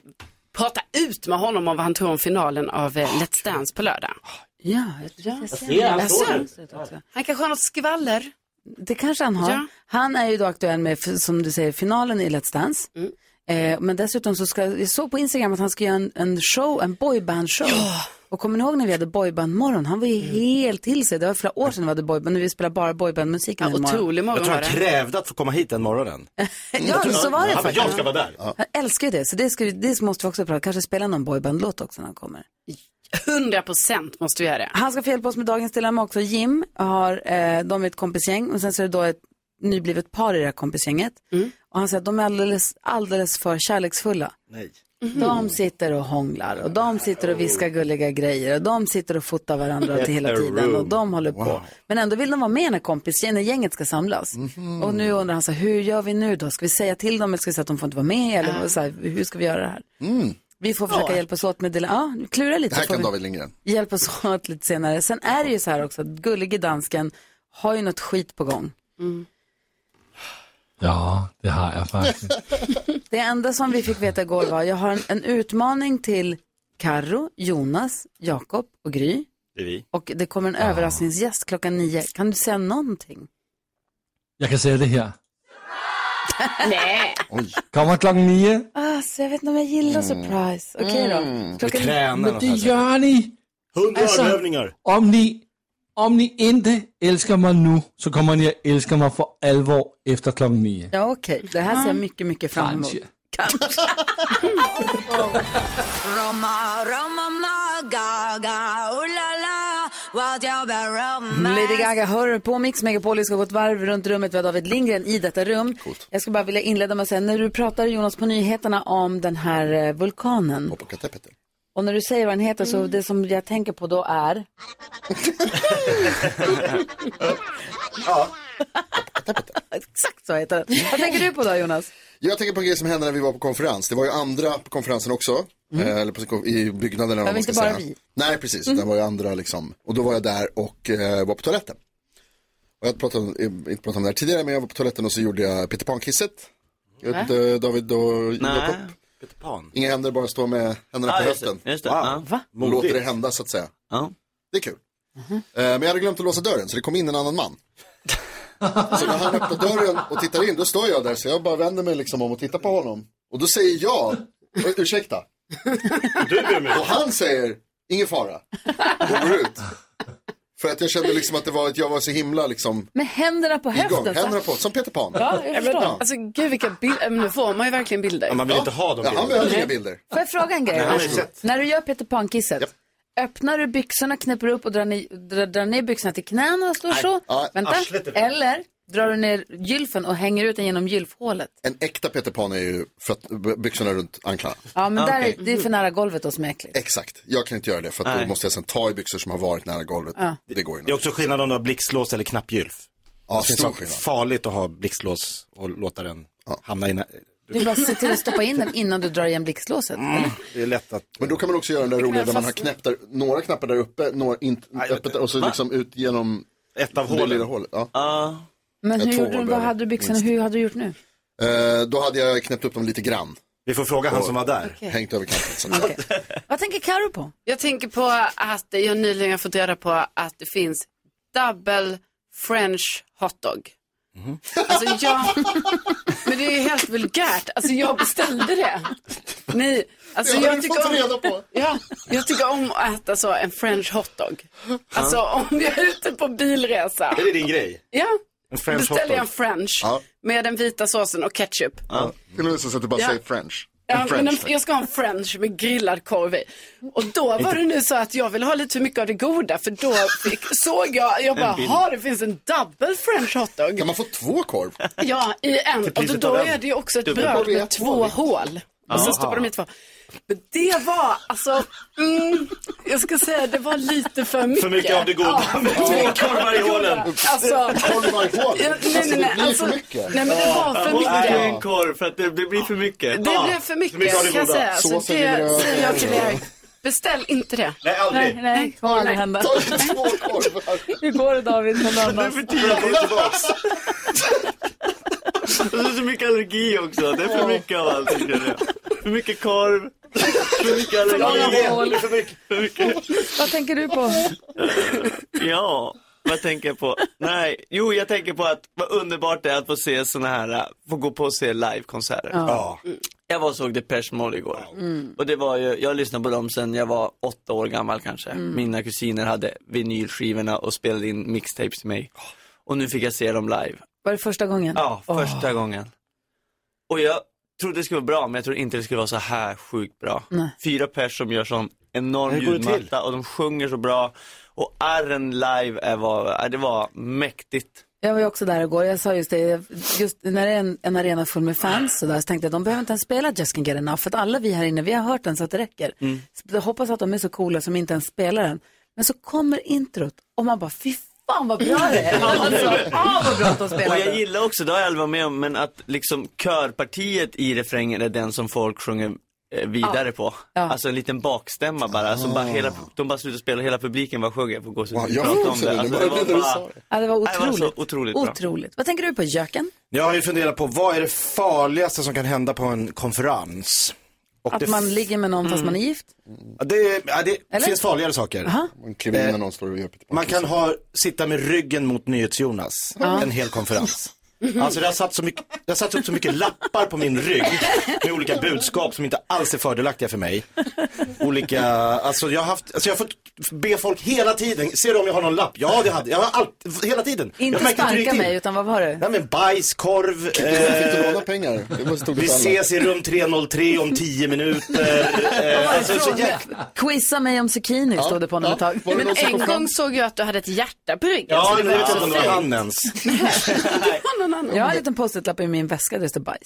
prata ut med honom om vad han tror om finalen av eh, Let's Dance på lördag. Ja, jag, tror att jag ser det. Jag ser det. Han kanske har något skvaller. Det kanske han har. Ja. Han är ju då aktuell med, f- som du säger, finalen i Let's Dance. Mm. Eh, men dessutom så ska, jag såg på Instagram att han ska göra en, en show, en boyband-show. Och kommer ni ihåg när vi hade boyband-morgon? Han var ju Mm. helt till sig. Det var flera år sedan vi hade boyband, när vi spelade bara boyband-musiken en morgon. Jag tror han krävde att få komma hit den morgonen. Ja, så var det Han bara, faktiskt. jag ska vara där. Han älskar ju det, så det, ska vi, det måste vi också prata Kanske spela någon boyband-låt också när han kommer. 100 procent måste vi göra det. Han ska få hjälpa oss med dagens dilemma också. Jim har, eh, de är ett kompisgäng och sen så är det då ett nyblivet par i det här kompisgänget. Mm. Och han säger att de är alldeles, alldeles för kärleksfulla. Nej. Mm. De sitter och hånglar och de sitter och viskar gulliga grejer och de sitter och fotar varandra Get hela a tiden room. och de håller på. Wow. Men ändå vill de vara med när kompis, när gänget ska samlas. Mhm. Och nu undrar han så här, hur gör vi nu då? Ska vi säga till dem eller ska vi säga att de får inte vara med? Eller Ah. vad- så här, hur ska vi göra det här? Vi får försöka Ja. hjälpas åt med dilemma. Ja, klura lite. Mm. Det här får kan vi David Lindgren. hjälp oss åt lite senare. Sen är det ju så här också att gullige dansken har ju något skit på gång. Ja, det har jag faktiskt. Det enda som vi fick veta igår var jag har en, en utmaning till Karro, Jonas, Jakob och Gry. Det är vi. Och det kommer en överraskningsgäst klockan nio. Kan du säga någonting? Jeg kan sige det her. Nej. Kommer klokken 9. Alltså, jag vet inte om jag gillar surprise. Okej Mm, Mm. då. Men det gør ni. 100 övningar. Om ni, om ni inte älskar mig nu, så kommer ni att älska mig för allvar efter klockan 9. Ja, okej. Det här ser jag mycket, mycket fram emot. Kanske. Kanske. Roma, Roma, Gaga, ooh la la, what you be romance. Lady Gaga hör du på Mix Megapol. Vi ska gå ett varv runt rummet. Vi har David Lindgren i detta rum. Jag skulle bara vilja inleda med att säga, när du pratade Jonas på nyheterna om den här eh, vulkanen. Och när du säger vad den heter så det som jag tänker på då är? Ja. Exakt så heter den. Vad tänker du på då Jonas? Jag tänker på en grej som hände när vi var på konferens. Det var ju andra på konferensen också. Mm. Eh, Eller på, i byggnaden Det eller var vad man ska inte bara säga. vi. Nej, precis. Mm. Det var ju andra liksom. Och då var jag där och eh, var på toaletten. Och jag pratade, om- eh, inte pratat om det här tidigare, men jag var på toaletten och så gjorde jag Peter Pan-kisset. Jag vet Va? inte, David och Nej. Jakob. Peter Pan. Inga händer, bara stå med händerna Ja, på just det, höften. just det. Wow. Ja. Va? Och Låter det Modigt. hända så att säga. Det är kul. Eh, Men jag hade glömt att låsa dörren så det kom in en annan man. Så när han öppnar dörren och tittar in, då står jag där så jag bara vänder mig liksom om och tittar på honom. Och då säger jag, "Ur- ursäkta. Och han säger, ingen fara. Och går ut. För att jag kände liksom att det var att jag var så himla liksom Med händerna på höften. igång. så här. Händerna på, som Peter Pan. Ja, jag förstår. Ja. Alltså gud vilka bilder, nu får man ju verkligen bilder. Ja, man vill inte ha de Ja, han behöver inga bilder. Får jag fråga en grej? Nej, Anders? varsågod. När du gör Peter Pan-kisset, öppnar du byxorna, knäpper upp och drar ner, drar, drar ner byxorna till knäna och slår så? Ja, Vänta. arslet är bra. Eller drar du ner gylfen och hänger ut den genom gylfhålet? En äkta Peter Pan är ju för att b- byxorna runt anklarna. Ja, men där är, det är för nära golvet då som är äckligt. Exakt, jag kan inte göra det för att då Nej. måste jag sen ta i byxor som har varit nära golvet. Ja. Det går ju inte. Det är också skillnad om du har blixtlås eller knappgylf. Ja, det det finns en är skillnad. farligt att ha blixtlås och låta den hamna i... nä- Du bara se till att stoppa in den innan du drar igen blixtlåset. eller? Det är lätt att... Men då kan man också göra den där roliga där man har fastna. knäppt där, några knappar där uppe, några inte öppet och så Va? liksom ut genom ett av Ah. hålen. Lilla hålet. Ja. Men Ja, hur gjorde två hål du, vad behöver hade du byxorna, minst. hur hade du gjort nu? Eh, då hade jag knäppt upp dem lite grann. Vi får fråga han som var där. Okej. Hängt över kanten. så att säga. Vad tänker Karo på? Jag tänker på att jag nyligen har fått reda på att det finns double french hotdog. Mhm. Alltså jag, men det är ju helt vulgärt. Alltså jag beställde det. Nej, alltså Det har jag du tycker fått om, reda på. Ja, jag tycker om att äta så en french hotdog. Alltså om jag är ute på bilresa. Är det din grej? Ja, En beställer french jag en hotdog? french Ja. med den vita såsen och ketchup. Ja. Till och med så att du bara Ja. säger french. En Ja, men en, french. jag ska ha en french med grillad korv i. Och då var det nu så att jag ville ha lite för mycket av det goda för då fick, såg jag, jag bara, En bild. ha det finns en double french hotdog. Kan man få två korv? Ja, i en. Och Till då, priset då av en. är det ju också ett Dubbel. bröd Korv i med ett två hål. Och Jaha. så stoppar de i två. Men det var alltså, mm, jag ska säga det var lite för mycket. För mycket av det goda. Med två mycket av det korvar i goda. hålen. Alltså, Korvar i hålen? Ja, nej, nej, Alltså, det nej, blir alltså, för nej, mycket. men det var för mycket. en korv för att det, det blir för mycket. Det blev för mycket, kan jag säga. Så det säger jag till er. Beställ inte det. Nej, aldrig. Nej, nej, kommer aldrig hända. Hur går det David med Det är Nannas? för tidigt tillbaks. Och så är det så mycket allergi också. Det är för mycket av allt. tycker jag. För mycket korv. För mycket allergi. För mycket. För mycket. Vad tänker du på? Ja, vad tänker jag på? Nej, jo jag tänker på att vad underbart det är att få se såna här, äh, få gå på och se livekonserter. Ja. Jag var och såg Depeche Mode igår. Mm. Och det var ju, jag lyssnade på dem sen jag var åtta år gammal kanske. Mm. Mina kusiner hade vinylskivorna och spelade in mixtapes till mig. Och nu fick jag se dem live. Var det första gången? Ja, första gången. Och jag trodde det skulle vara bra, men jag trodde inte det skulle vara så här sjukt bra. Nej. Fyra pers som gör sån enorm Hur går det ljudmatta och de sjunger så bra. Och arren live är var, äh, det var mäktigt. Jag var ju också där igår. Jag sa just det, just när det är en, en arena full med fans så, där, så tänkte jag de behöver inte ens spela Just Can Get Enough för att alla vi här inne, vi har hört den så att det räcker. Så jag hoppas att de är så coola som inte ens spelar den. Men så kommer introt och man bara, fy fan vad bra det är. Alltså, ah, vad bra att de spelar Och jag den. gillar också, det har jag aldrig varit med om, men att liksom körpartiet i refrängen är den som folk sjunger eh, vidare på. Alltså en liten bakstämma bara. Alltså Ah. bara hela, de bara slutar spela, hela publiken bara sjunger. Jag får gåshud när vi jag pratar får om också det. det. Det Alltså, var det du sa. Ja, det var Nej, det var otroligt. så otroligt bra. otroligt. Vad tänker du på, Jöken? Jag har ju funderat på vad är det farligaste som kan hända på en konferens? Och Att det man ligger med någon fast man är gift? Ja, Det, ja, det Eller? finns farligare saker. Aha. Man kliver in när någon slår Man kan ha, sitta med ryggen mot NyhetsJonas Ja. en hel konferens. Alltså det har satt, så mycket, det har satt upp så mycket lappar på min rygg med olika budskap som inte alls är fördelaktiga för mig. Olika, alltså jag har haft, alltså jag har fått be folk hela tiden, ser du om jag har någon lapp? Ja det hade jag, har allt, hela tiden. jag Inte märkte det gick sparka till. mig, utan vad var det? Nej men bajs, korv. fick inte eh, låna pengar. Det måste tog Vi alla. ses i rum 303 om 10 minuter. Eh, alltså, så jäkla... Quizza mig om zucchini stod det på honom ett tag. Men en gång såg jag att du hade ett hjärta på ryggen. Ja, så men jag vet inte om det var fint. han ens. Jag har en liten post-it-lapp i min väska där det står bajs.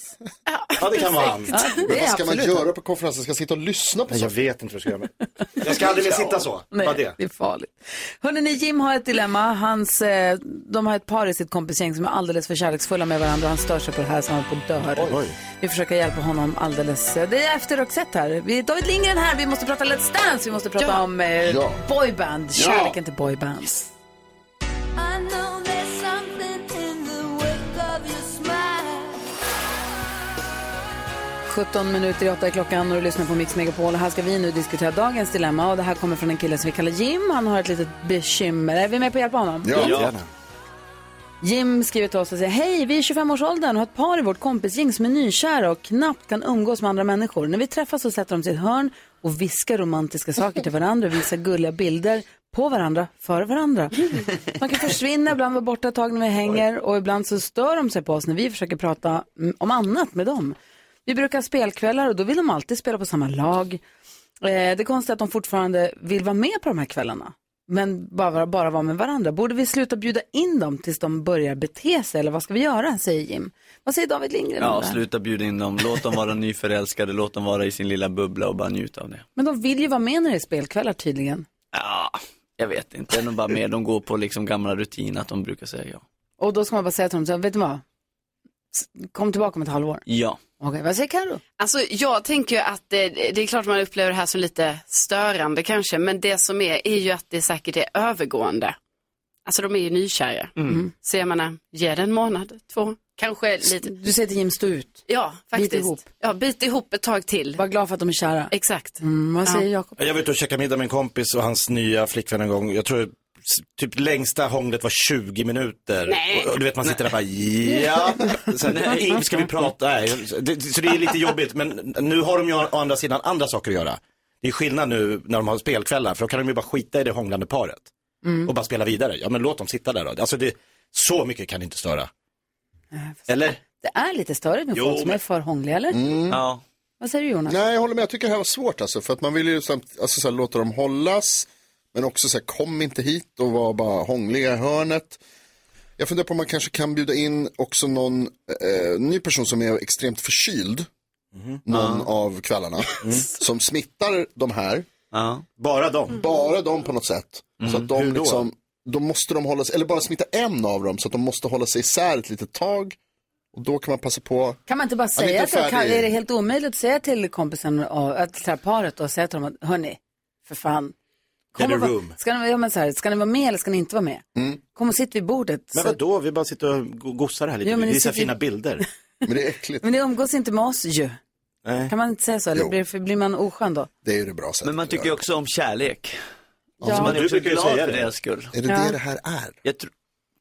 Ja, det kan vara han. Ja, det Men är vad ska man absolut göra på konferensen? Ska jag sitta och lyssna på Nej, jag vet inte vad jag ska göra. Med. Jag ska aldrig mer sitta så. Nej, Bara det. det är farligt. Hörrni, ni, Jim har ett dilemma. Hans, eh, de har ett par i sitt kompisgäng som är alldeles för kärleksfulla med varandra. Han stör sig på det här så han håller på att dö. Oj. Vi försöker hjälpa honom alldeles. Eh, Det är efter Roxette här. Vi, David Lindgren här. Vi måste prata Let's Dance. Vi måste prata Ja. om eh, Ja. boyband. Ja. Kärleken till boyband. I know there's something in the wake of your smile 17 minuter i åtta är klockan och du lyssnar på Mix Megapol. Och här ska vi nu diskutera dagens dilemma. Och det här kommer från en kille som vi kallar Jim. Han har ett litet bekymmer. Är vi med på att hjälpa honom? Jim skriver till oss och säger Hej, vi är 25-årsåldern och har ett par i vårt kompisgäng som är nykära och knappt kan umgås med andra människor. När vi träffas så sätter de sig i ett hörn och viskar romantiska saker till varandra och visar gulliga bilder på varandra, för varandra. Man kan försvinna, ibland vara borta ett tag när vi hänger och ibland så stör de sig på oss när vi försöker prata mm, om annat med dem. Vi brukar ha spelkvällar och då vill de alltid spela på samma lag. Eh, det konstiga är att de fortfarande vill vara med på de här kvällarna. Men bara, bara vara med varandra. Borde vi sluta bjuda in dem tills de börjar bete sig? Eller vad ska vi göra? Säger Jim. Vad säger David Lindgren om Ja, det här? sluta bjuda in dem, låt dem vara nyförälskade, låt dem vara i sin lilla bubbla och bara njuta av det. Men de vill ju vara med när det är spelkvällar tydligen. Ja, jag vet inte, det är nog bara mer de går på liksom gamla rutiner att de brukar säga ja. Och då ska man bara säga till dem, så, här, vet du vad? S- Kom tillbaka om ett halvår. Ja. Okej, vad säger Carro? Alltså jag tänker ju att det, det är klart man upplever det här som lite störande kanske, men det som är är ju att det säkert är övergående. Alltså de är ju nykära. Mm. Så jag menar, ge det en månad, två, kanske lite. Du säger till Jim, stå ut. Ja, faktiskt. Bit ihop. Ja, bit ihop ett tag till. Var glad för att de är kära. Exakt. Mm, vad säger Jakob? Jag var ute och käkade middag med en kompis och hans nya flickvän en gång. Jag tror s- typ längsta hånglet var 20 minuter. Nej. Och, och du vet man sitter där och bara ja. Så, här, Nej. "Ing, ska vi prata? Nej. Så det- så det är lite jobbigt men nu har de ju å andra sidan andra saker att göra. Det är skillnad nu när de har spelkvällar för då kan de ju bara skita i det hånglande paret. Mm. Och bara spela vidare. Ja men låt dem sitta där då. Alltså det, så mycket kan det inte störa. Eller? Eh, Det är lite större med Jo, folk som men- är för hångliga, eller? Ja. Vad säger du Jonas? Mm. Nej, jag håller med. Jag tycker det här var svårt alltså. För att man vill ju samt, alltså, så här, låta dem hållas. Men också så här, kom inte hit och var bara hångliga i hörnet. Jag funderar på om man kanske kan bjuda in också någon eh, ny person som är extremt förkyld. Någon av kvällarna. Som smittar de här. Mm. Bara dem? Bara dem på något sätt. Så att de Hur då? liksom, då måste de hålla sig, eller bara smitta en av dem så att de måste hålla sig isär ett litet tag. Och då kan man passa på. Kan man inte bara Ja, säga att lite jag kan, färdig. är det helt omöjligt att säga till kompisen, och, att, till det här paret och säga till dem att hörni, för fan. Get a och vara- room. ska, ni, ja, men så här, ska ni vara med eller ska ni inte vara med? Mm. Kom och sitt vid bordet. Men så- vadå, vi bara sitter och go- gossar här lite. Jo, men vi ni visar sitter ju- fina bilder. Men det är äckligt. men ni umgås inte med oss ju. Nej. Kan man inte säga så? Eller blir, för blir man oskön då? Det är ju det bra sättet. Men man tycker ju också om kärlek. Ja. Så man Du är också brukar ju glad säga för det. deras skull. Är det Ja. det det här är? Jag tr-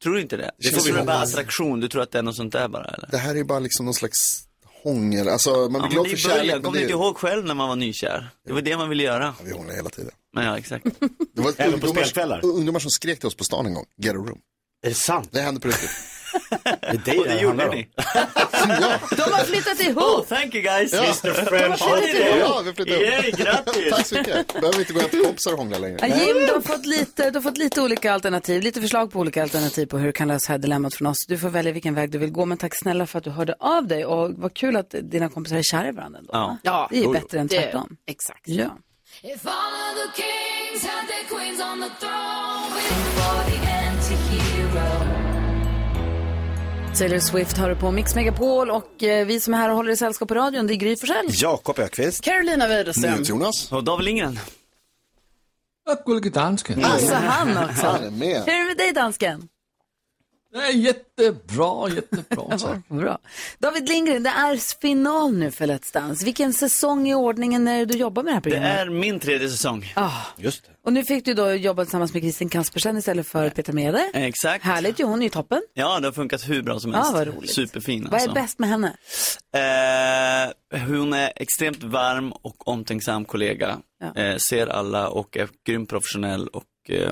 tror inte det. Det Det får vi är bara hoppas. attraktion, du tror att det är något sånt där bara eller? Det här är ju bara liksom någon slags hångel. Alltså man blir Ja, men glad det för är början. kärlek. men Kommer det ni är inte ju- ihåg själv när man var nykär? Det var det man ville göra. vi hånglar hela tiden. Men ja, exakt. Det var Även på ungdomar- spelkvällar? Ungdomar som skrek till oss på stan en gång. Get a room. Är det sant? Det hände på riktigt. det är det Och det det handlar gjorde om. ni? De har flyttat ihop! Oh, thank you guys! Ja. Mr. French Ja, det är det. Ja, vi flyttade ihop. Yay, grattis! Tack så mycket. Behöver inte gå hem till kompisar och hångla längre. Ja, Jim, du har, fått lite, du har fått lite olika alternativ, lite förslag på olika alternativ på hur du kan lösa det här dilemmat från oss. Du får välja vilken väg du vill gå, men tack snälla för att du hörde av dig och vad kul att dina kompisar är kära i varandra. ändå. Ja. Det är ju bättre än tvärtom. Exakt. Ja. If all of the kings had their queens on the throne We were the anti-hero Taylor Swift har du på Mix Megapol och eh, vi som är här och håller i sällskap på radion, det är Gry Forssell. Jakob Ökvist. Carolina Widerström. Jonas. Och David Lindgren. Och Gullige Dansken. Alltså han också. Han är med. Hur är det med dig dansken? Nej, jättebra, jättebra. Så. Bra. David Lindgren, det är final nu för Let's Dance. Vilken säsong i ordningen är det du jobbar med det här Det programmet? är min tredje säsong. Ah. Just det. Och nu fick du då jobba tillsammans med Kristin Kaspersen istället för Peter Mede. Exakt. Härligt ju, hon är ju toppen. Ja, det har funkat hur bra som Ja, helst. vad roligt. Superfin Vad är alltså. bäst med henne? Eh, hon är extremt varm och omtänksam kollega. Ja. Eh, ser alla och är grymt professionell och eh,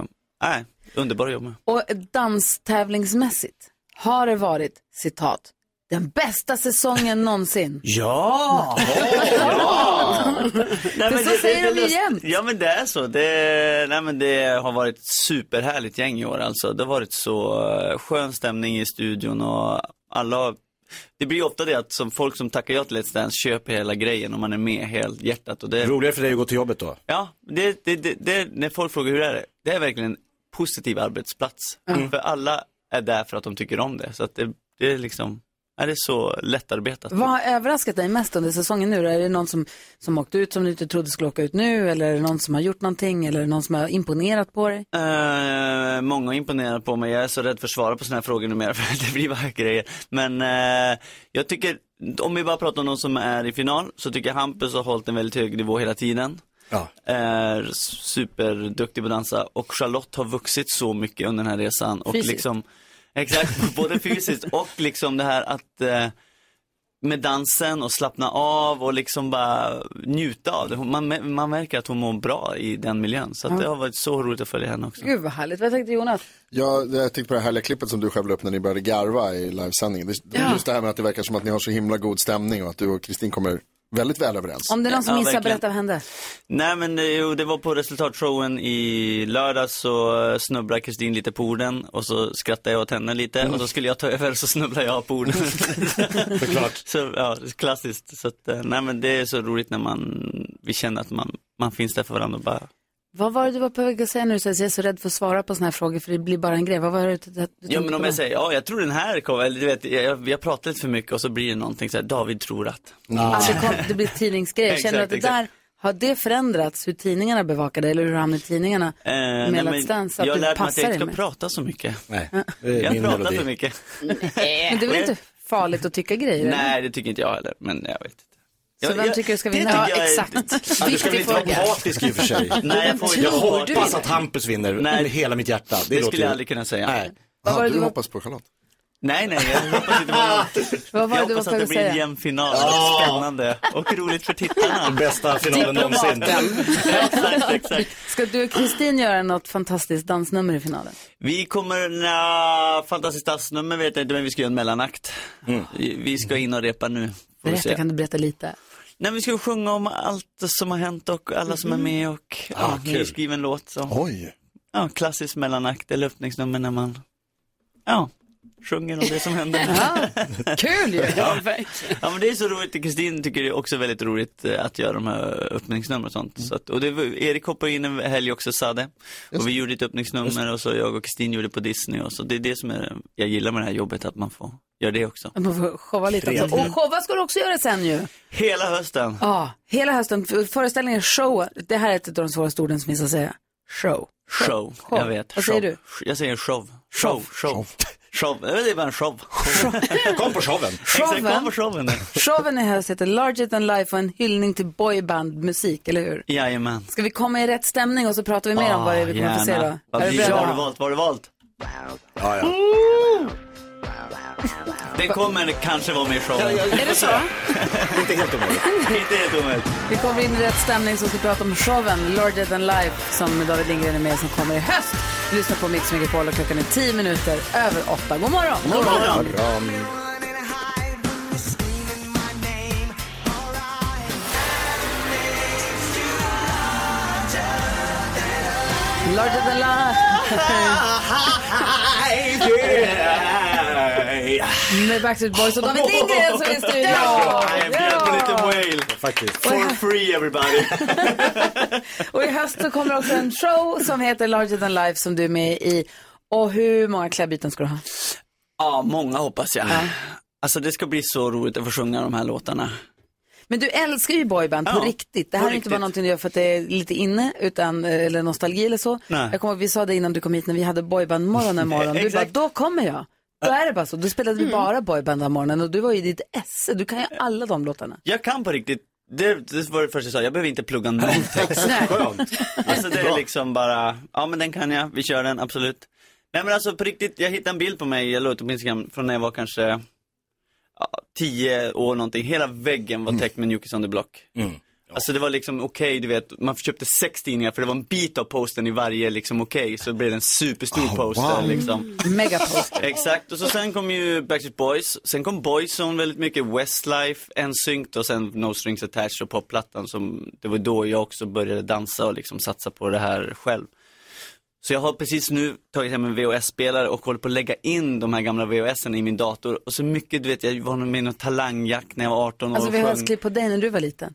äh, underbar att jobba med. Och danstävlingsmässigt har det varit, citat, den bästa säsongen någonsin. Ja! Nej, För så säger de ju lust- jämt. Ja men det är så. Det, nej, men det har varit superhärligt gäng i år alltså. Det har varit så eh, skön stämning i studion och alla har- det blir ju ofta det att som folk som tackar ja till Let's Dance köper hela grejen och man är med helt hjärtat. Och det, Roligare för dig att gå till jobbet då? Ja, det, det, det, det, när folk frågar hur är det? Det är verkligen en positiv arbetsplats. Mm. För alla är där för att de tycker om det. Så att det, det är liksom, är det är så lättarbetat. Vad har överraskat dig mest under säsongen nu? då? Är det någon som, som åkte ut som du inte trodde skulle åka ut nu? Eller är det någon som har gjort någonting? Eller är det någon som har imponerat på dig? Eh, många imponerar på mig. Jag är så rädd för att svara på sådana här frågor numera för att det blir bara grejer. Men eh, jag tycker, om vi bara pratar om någon som är i final, så tycker jag Hampus har hållit en väldigt hög nivå hela tiden. Ja. Är superduktig på att dansa och Charlotte har vuxit så mycket under den här resan. Och Fysiskt. liksom, exakt, både fysiskt och liksom det här att eh, med dansen och slappna av och liksom bara njuta av det. Hon- Man, man märker att hon mår bra i den miljön. Så att Ja. det har varit så roligt att följa henne också. Gud vad härligt. Vad tänkte Jonas? Jag, jag tänkte på det här härliga klippet som du själv la upp när ni började garva i livesändningen. Det, det- Ja. Just det här med att det verkar som att ni har så himla god stämning och att du och Kristin kommer väldigt väl överens. Om det är någon som Ja, missar, verkligen. berätta vad hände. Nej men eh, jo, det var på resultatshowen i lördags så eh, snubblade Kristin lite på orden och så skrattade jag åt henne lite och så skulle jag ta över så snubblade jag på orden. Såklart. Så, ja, klassiskt. Så att, eh, nej men det är så roligt när man, vi känner att man, man finns där för varandra och bara, Vad var det du var på väg att säga när du sa att jag är så rädd för att svara på sådana här frågor för det blir bara en grej? Vad var det du, du ja men om jag säger, ja jag tror den här kommer, eller du vet, jag, jag, jag pratar lite för mycket och så blir det någonting så här, David tror att. Alltså, det, kom, det blir tidningsgrejer. Känner du att det Exakt, där, har det förändrats hur tidningarna bevakar dig eller hur du hamnar i tidningarna Eh, med nej, Let's Dance? Att jag har det lärt mig att passar jag dig inte ska mer? prata så mycket. Nej, är min jag pratar melodi. för mycket. Mm. Men det är väl inte farligt att tycka grejer? eller? Nej, det tycker inte jag heller, men jag vet inte. Så Jag- vem jag- tycker du ska det vinna? Ja, tycker jag är- exakt. Ja, du ska väl inte vara Viktig fråga. apatisk i och för sig? Nej, jag får jag inte vara hoppas apatisk. att Hampus vinner Nej. med hela mitt hjärta. Det låter skulle ju- jag aldrig kunna säga. Nej. Vad var det du var- hoppas på Charlotte. Nej, nej, jag hoppas inte på Vad var Jag det du var hoppas på att väg det att blir en säga? jämn final. Ja. Spännande och roligt för tittarna. Bästa finalen någonsin. exakt, exakt. Ska du och Kristin göra något fantastiskt dansnummer i finalen? Vi kommer, nja, fantastiskt dansnummer vet jag inte, men vi ska göra en mellanakt. Vi vi ska in och repa nu. Får vi Berätta, se. kan du berätta lite? Nej, vi ska sjunga om allt som har hänt och alla som är med och Ah, ja, kul. vi skriver en låt. Så. Oj. Ja, klassisk mellanakt eller öppningsnummer när man, ja, sjunger om det som händer. Kul ju! Ja, ja men det är så roligt, Kristin tycker det är också väldigt roligt eh, att göra de här öppningsnummer och sånt. Mm. Så att, och det, var- Erik hoppade in en helg också, Sade. Och vi gjorde ett öppningsnummer och så jag och Kristin gjorde på Disney och så. Det är det som är, jag gillar med det här jobbet, att man får göra det också. Man får showa lite också. Och showa ska du också göra sen ju. Hela hösten. Ja, hela hösten. F- Föreställningen show, det här är ett av de svåraste orden som finns att säga. Show. Show, jag vet. Vad säger du? Jag säger show. Show, show. Show, Eh, det är bara en show. Kom på showen. Exakt, Showen. kom på showen. Showen i höst heter Larger than life och en hyllning till boybandmusik, eller hur? Jajamän. Ska vi komma i rätt stämning och så pratar vi mer Ah, om vad det är vi kommer få se då? Vad Är du blir- beredd? Vad har du valt? Vad har du valt? Ja, ja. Den kommer kanske vara med i showen. Är det så? Inte helt omöjligt. Inte helt omöjligt. Vi kommer in i rätt stämning så ska vi prata om showen Larger than life som David Lindgren är med som kommer i höst. Lyssna på Mix Megapol och klockan är 10 minuter över 8. God morgon! God morgon. Larger than life! Med Backstreet Boys och David Lindgren som är i studion. Jag bjöd på lite Whale. Faktiskt. For free everybody. Och i höst så kommer också en show som heter Larger than life som du är med i. Och hur många klädbyten ska du ha? Ja, många hoppas jag. Alltså det ska bli så roligt att få sjunga de här låtarna. Men du älskar ju boyband på Ja, riktigt. Det på här är inte bara riktigt. någonting du gör för att det är lite inne, utan, eh, eller nostalgi eller så. Nej. Jag kommer ihåg, vi sa det innan du kom hit när vi hade boybandmorgon en morgon. Du bara, Exakt. då kommer jag. Då är det bara så. Då spelade vi bara boyband den morgonen och du var ju i ditt esse. Du kan ju alla de låtarna. Jag kan på riktigt, det, det var det första jag sa, jag behöver inte plugga någon text. Skönt. Alltså det är liksom bara, ja men den kan jag, vi kör den, absolut. Nej men alltså på riktigt, jag hittade en bild på mig, jag la ut på Instagram, från när jag var kanske ja, 10 år någonting. Hela väggen var täckt med Newkids on the Block. Alltså det var liksom okej, du vet, man köpte sex tidningar för det var en bit av posten i varje liksom okej, så det blev det en superstor poster wow. liksom. Megapost. Exakt, och så sen kom ju Backstreet Boys, sen kom Boyzone väldigt mycket, Westlife, NSYNC och sen No Strings Attached och popplattan som, det var då jag också började dansa och liksom satsa på det här själv. Så jag har precis nu tagit hem en VHS-spelare och håller på att lägga in de här gamla VHSen i min dator. Och så mycket, du vet, jag var nog med i någon talangjakt när jag var 18 år Alltså och sjöng. VHS-klipp på dig när du var liten.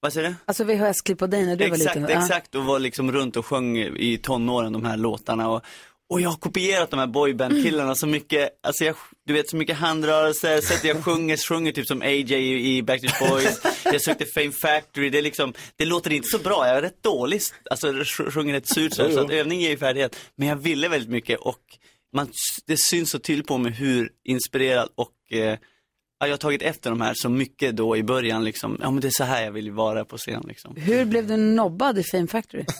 Vad säger du? Alltså VHS-klipp på dig när du var exakt, liten. Ja. exakt. Och var liksom runt och sjöng i tonåren de här låtarna. Och, och jag har kopierat de här boyband-killarna så mycket, alltså jag, du vet så mycket handrörelser, sättet jag sjunger, sjunger typ som AJ i, i Backstreet Boys. Jag sökte Fame Factory, det är liksom, det låter inte så bra, jag är rätt dålig, alltså jag sj- sjunger rätt surt så, här, Jo, så jo. att övning ger ju färdighet. Men jag ville väldigt mycket och man, s- det syns så tydligt på mig hur inspirerad och eh, ja, jag har tagit efter de här så mycket då i början liksom, ja men det är så här jag vill vara på scen liksom. Hur blev du nobbad i Fame Factory?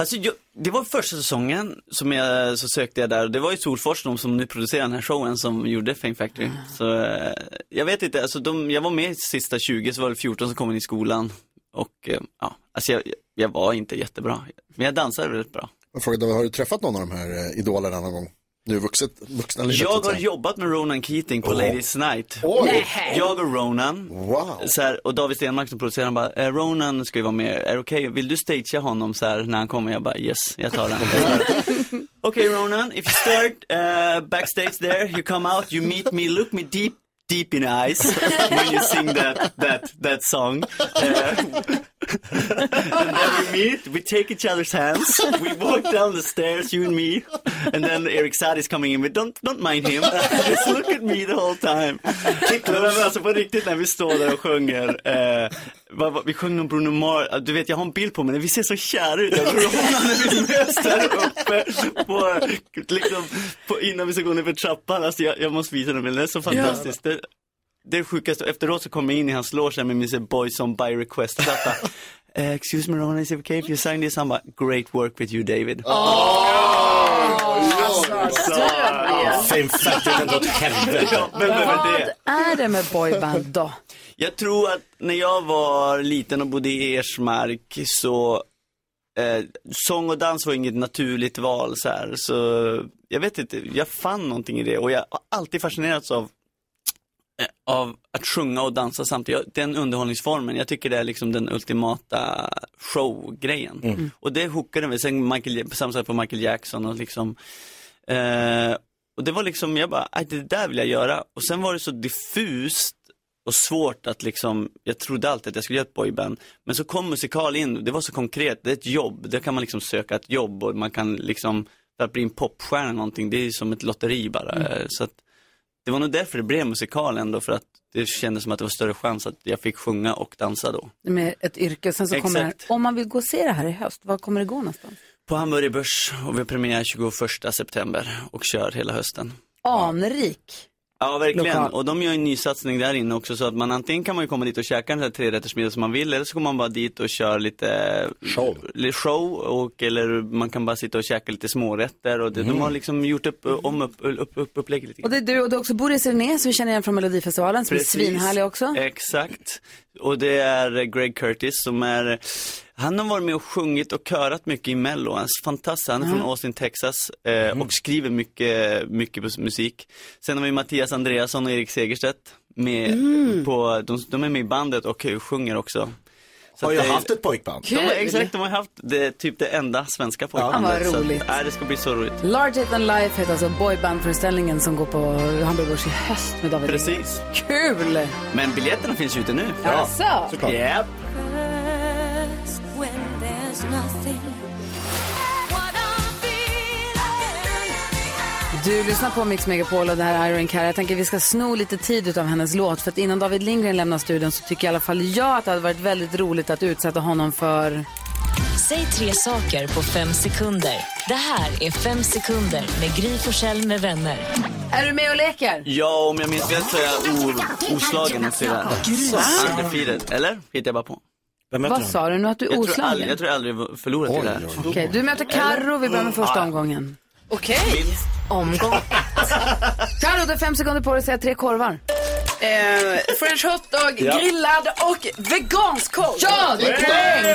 Alltså, jag, det var första säsongen som jag, så sökte jag där. Det var ju Solfors, de som nu producerar den här showen, som gjorde Fame Factory. Så eh, jag vet inte, alltså de, jag var med i sista 20, så var det 14 som kom in i skolan. Och eh, ja, alltså jag, jag var inte jättebra. Men jag dansade väldigt bra. Jag frågade, har du träffat någon av de här eh, idolerna någon gång? Nu vuxet, vuxna livet. så Jag att har säga. jobbat med Ronan Keating på Åh. Ladies Night. Oj. Jag och Ronan. Wow. Så här, och David Stenmark som producerar, han bara, eh, Ronan ska ju vara med, är det okej? Vill du stagea honom så här när han kommer? Jag bara, yes, jag tar den. Okej Ronan, if you start uh, backstage there, you come out, you meet me, look me deep, deep in the eyes when you sing that, that, that song. Uh, and then we meet, we take each other's hands, we walk down the stairs, you and me, and then Eric Saade is coming in, but don't, don't mind him, just look at me the whole time. Men alltså på riktigt när vi står där och sjunger, eh, vad, vad, vi sjöng någon Bruno Mars, du vet jag har en bild på mig, vi ser så kära ut, jag tror Ronan när vi möts där uppe på, liksom, på, innan vi ska gå ner för trappan, alltså jag, jag måste visa den bilden, det är så fantastiskt. Det, det är det sjukaste, efteråt så kom jag in i hans loge här med min sån Boys on by request platta. Eh, excuse me Ronan, is it okay if you sign this? Han bara, great work with you David. Fame factor ändå åt helvete. Ja, men, men, men det. Är det med boyband då? Jag tror att när jag var liten och bodde i Ersmark så eh, sång och dans var inget naturligt val så här. Så jag vet inte, jag fann någonting i det och jag har alltid fascinerats av eh, av att sjunga och dansa samtidigt. Jag- Den underhållningsformen, jag tycker det är liksom den ultimata showgrejen. Mm. Och det hookade mig. Sen Michael, på samma sätt på Michael Jackson och liksom eh, Och det var liksom, jag bara, "Aj, det där vill jag göra. Och sen var det så diffust och svårt att liksom, jag trodde alltid att jag skulle göra ett boyband. Men så kom musikal in, det var så konkret, det är ett jobb, där kan man liksom söka ett jobb och man kan liksom, för att bli en popstjärna eller någonting, det är ju som ett lotteri bara. Mm. Eh, Så att, det var nog därför det blev musikal ändå, för att det kändes som att det var större chans att jag fick sjunga och dansa då. Med ett yrke. Sen så kommer Exakt. om man vill gå och se det här i höst, var kommer det gå någonstans? På Hamburger Börs och vi har premiär 21 september och kör hela hösten. Anrik. Ja, verkligen. Lokal. Och de gör en ny satsning där inne också så att man antingen kan man ju komma dit och käka den där trerättersmiddagen som man vill eller så går man bara dit och kör lite show, show och, eller man kan bara sitta och käka lite smårätter och det, de har liksom gjort upp, om upp, upp, upp, upplägget lite Och det är du och du är också Boris René som vi känner igen från Melodifestivalen som är svinhärlig också. Exakt. Och det är Greg Curtis som är, han har varit med och sjungit och körat mycket i Mello. Han är fantastisk, han är från Ja. Austin, Texas eh, Mm. och skriver mycket, mycket mus- musik. Sen har vi Mattias Andreasson och Erik Segerstedt med Mm. på, de, de är med i bandet och eh, sjunger också. Så Har att ju det- haft ett pojkband. De, har- Kul. exakt, de har haft det, typ det enda svenska Fan, pojkbandet. vad Så att- roligt. Nej, det ska bli så roligt. Larger than life heter alltså boybandföreställningen som går på Hamburg Börs i höst med David Ring. Precis. Kul! Men biljetterna finns ju ute nu. Jaså? Såklart. Japp. First, when there's nothing. Du lyssnar på Mix Megapol och det här är Irene Cara. Jag tänker vi ska sno lite tid av hennes låt för att innan David Lindgren lämnar studion så tycker i alla fall jag att det hade varit väldigt roligt att utsätta honom för Säg tre saker på fem sekunder. Det här är Fem sekunder med Gry Forssell med vänner. Är du med och leker? Ja, om jag minns rätt så är jag o- oslagen sedan Va? undefeated. Eller? Hittar jag bara på. Vad sa du nu att du är Jag tror, oslagen? aldrig, jag tror jag aldrig förlorat i det här. Okej, du möter Carro. Vi börjar med första Ja. omgången. Okej. Omgång Carro, du har fem sekunder på dig att säga tre korvar. Eh, French hotdog, Ja. grillad och vegansk korv. Ja, det är poäng!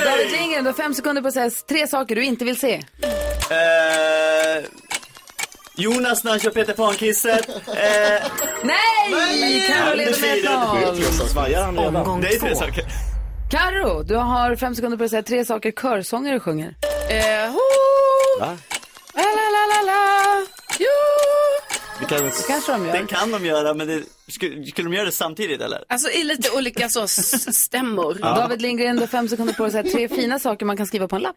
Hey! Där är jingeln. Du har fem sekunder på att säga tre saker du inte vill se. Eh, Jonas när han kör Peter Pan-kisset. Eh, Nej! Carro leder med 1-0. Svajar han redan? Omgång Det är tre två. saker. Carro, du har fem sekunder på dig att säga tre saker körsångare sjunger. Eh, ho, Va? la, la, la, la, la. Jo. Vi kan... Det kanske de gör. Det kan de göra, men det... skulle, skulle de göra det samtidigt eller? Alltså i lite olika så s- stämmor. Ja. David Lindgren, du har fem sekunder på dig att säga tre fina saker man kan skriva på en lapp.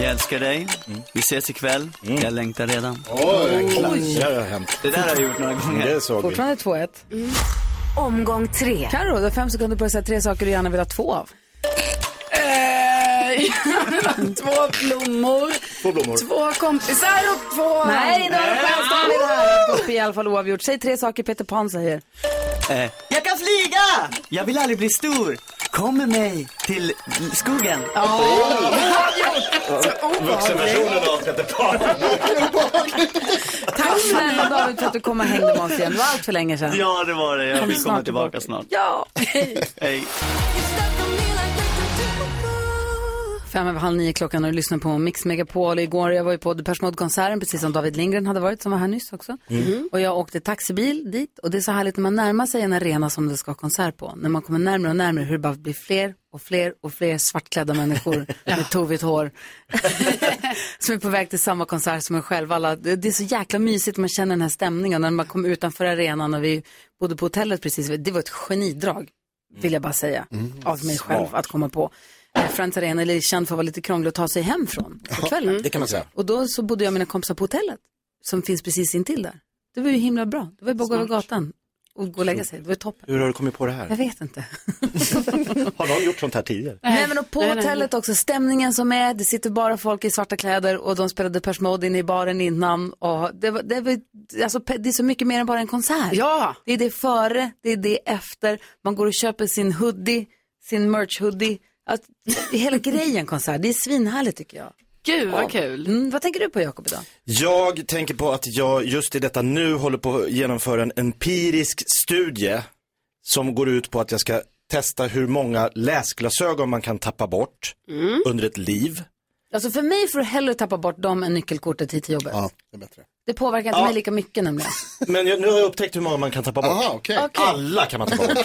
Jag älskar dig. Vi ses ikväll. Jag längtar redan. Oj. Det har hänt. Det där har jag gjort några gånger. Det såg vi. Fortfarande 2-1. Omgång tre. Carro, du har fem sekunder på dig att säga tre saker du gärna vill ha två av. Eh, två blommor, Två blommor. två kompisar och två... Nej, då har du chans David här. Att gå upp i alla fall oavgjort. Säg tre saker Peter Pan säger. Eh, jag kan flyga! Jag vill aldrig bli stor. Kom med mig till skogen. Vuxenversionen av Peter Pan. Tack snälla David för att du kom och hängde med oss igen. Det var allt för länge sedan. Ja, det var det. Jag vill komma tillbaka snart. Ja. Hej. Fem över halv nio klockan och du lyssnar på Mix Megapol. Igår jag var ju på Depeche Mode-konserten, precis som David Lindgren hade varit, som var här nyss också. Mm. Mhm. Och jag åkte taxibil dit och det är så härligt när man närmar sig en arena som det ska ha konsert på. När man kommer närmare och närmare hur det bara blir fler och fler och fler svartklädda människor med tovigt hår. som är på väg till samma konsert som en själv. Alla, det det är så jäkla mysigt, man känner den här stämningen. När man kom utanför arenan och vi bodde på hotellet precis, det var ett genidrag, vill jag bara säga, Mm. av mig själv Smart. att komma på. Eh, Friends Arena är känd för att vara lite krånglig att ta sig hem från på kvällen. Det kan man säga. Och då så bodde jag med mina kompisar på hotellet, som finns precis intill där. Det var ju himla bra, det var ju bara att gå över gatan och gå och lägga sig, det var ju toppen. Hur har du kommit på det här? Jag vet inte. Har någon gjort sånt här tidigare? Nej, men och på Nej, nej, nej. hotellet också, stämningen som är, det sitter bara folk i svarta kläder och de spelade Depeche Mode inne i baren innan. Och det, var, det, var, alltså, pe- det är så mycket mer än bara en konsert. Ja. Det är det före, det är det efter, man går och köper sin hoodie, sin merch-hoodie. Att, det är hela grejen konsert, det är svinhärligt tycker jag. Gud, vad kul. Mm, vad tänker du på Jakob idag? Jag tänker på att jag just i detta nu håller på att genomföra en empirisk studie som går ut på att jag ska testa hur många läsglasögon man kan tappa bort under ett liv. Alltså för mig får du hellre tappa bort dem än nyckelkortet hit till jobbet. det är bättre. Det påverkar inte Ja. mig lika mycket nämligen. Men jag, nu har jag upptäckt hur många man kan tappa bort. Alla kan man tappa bort.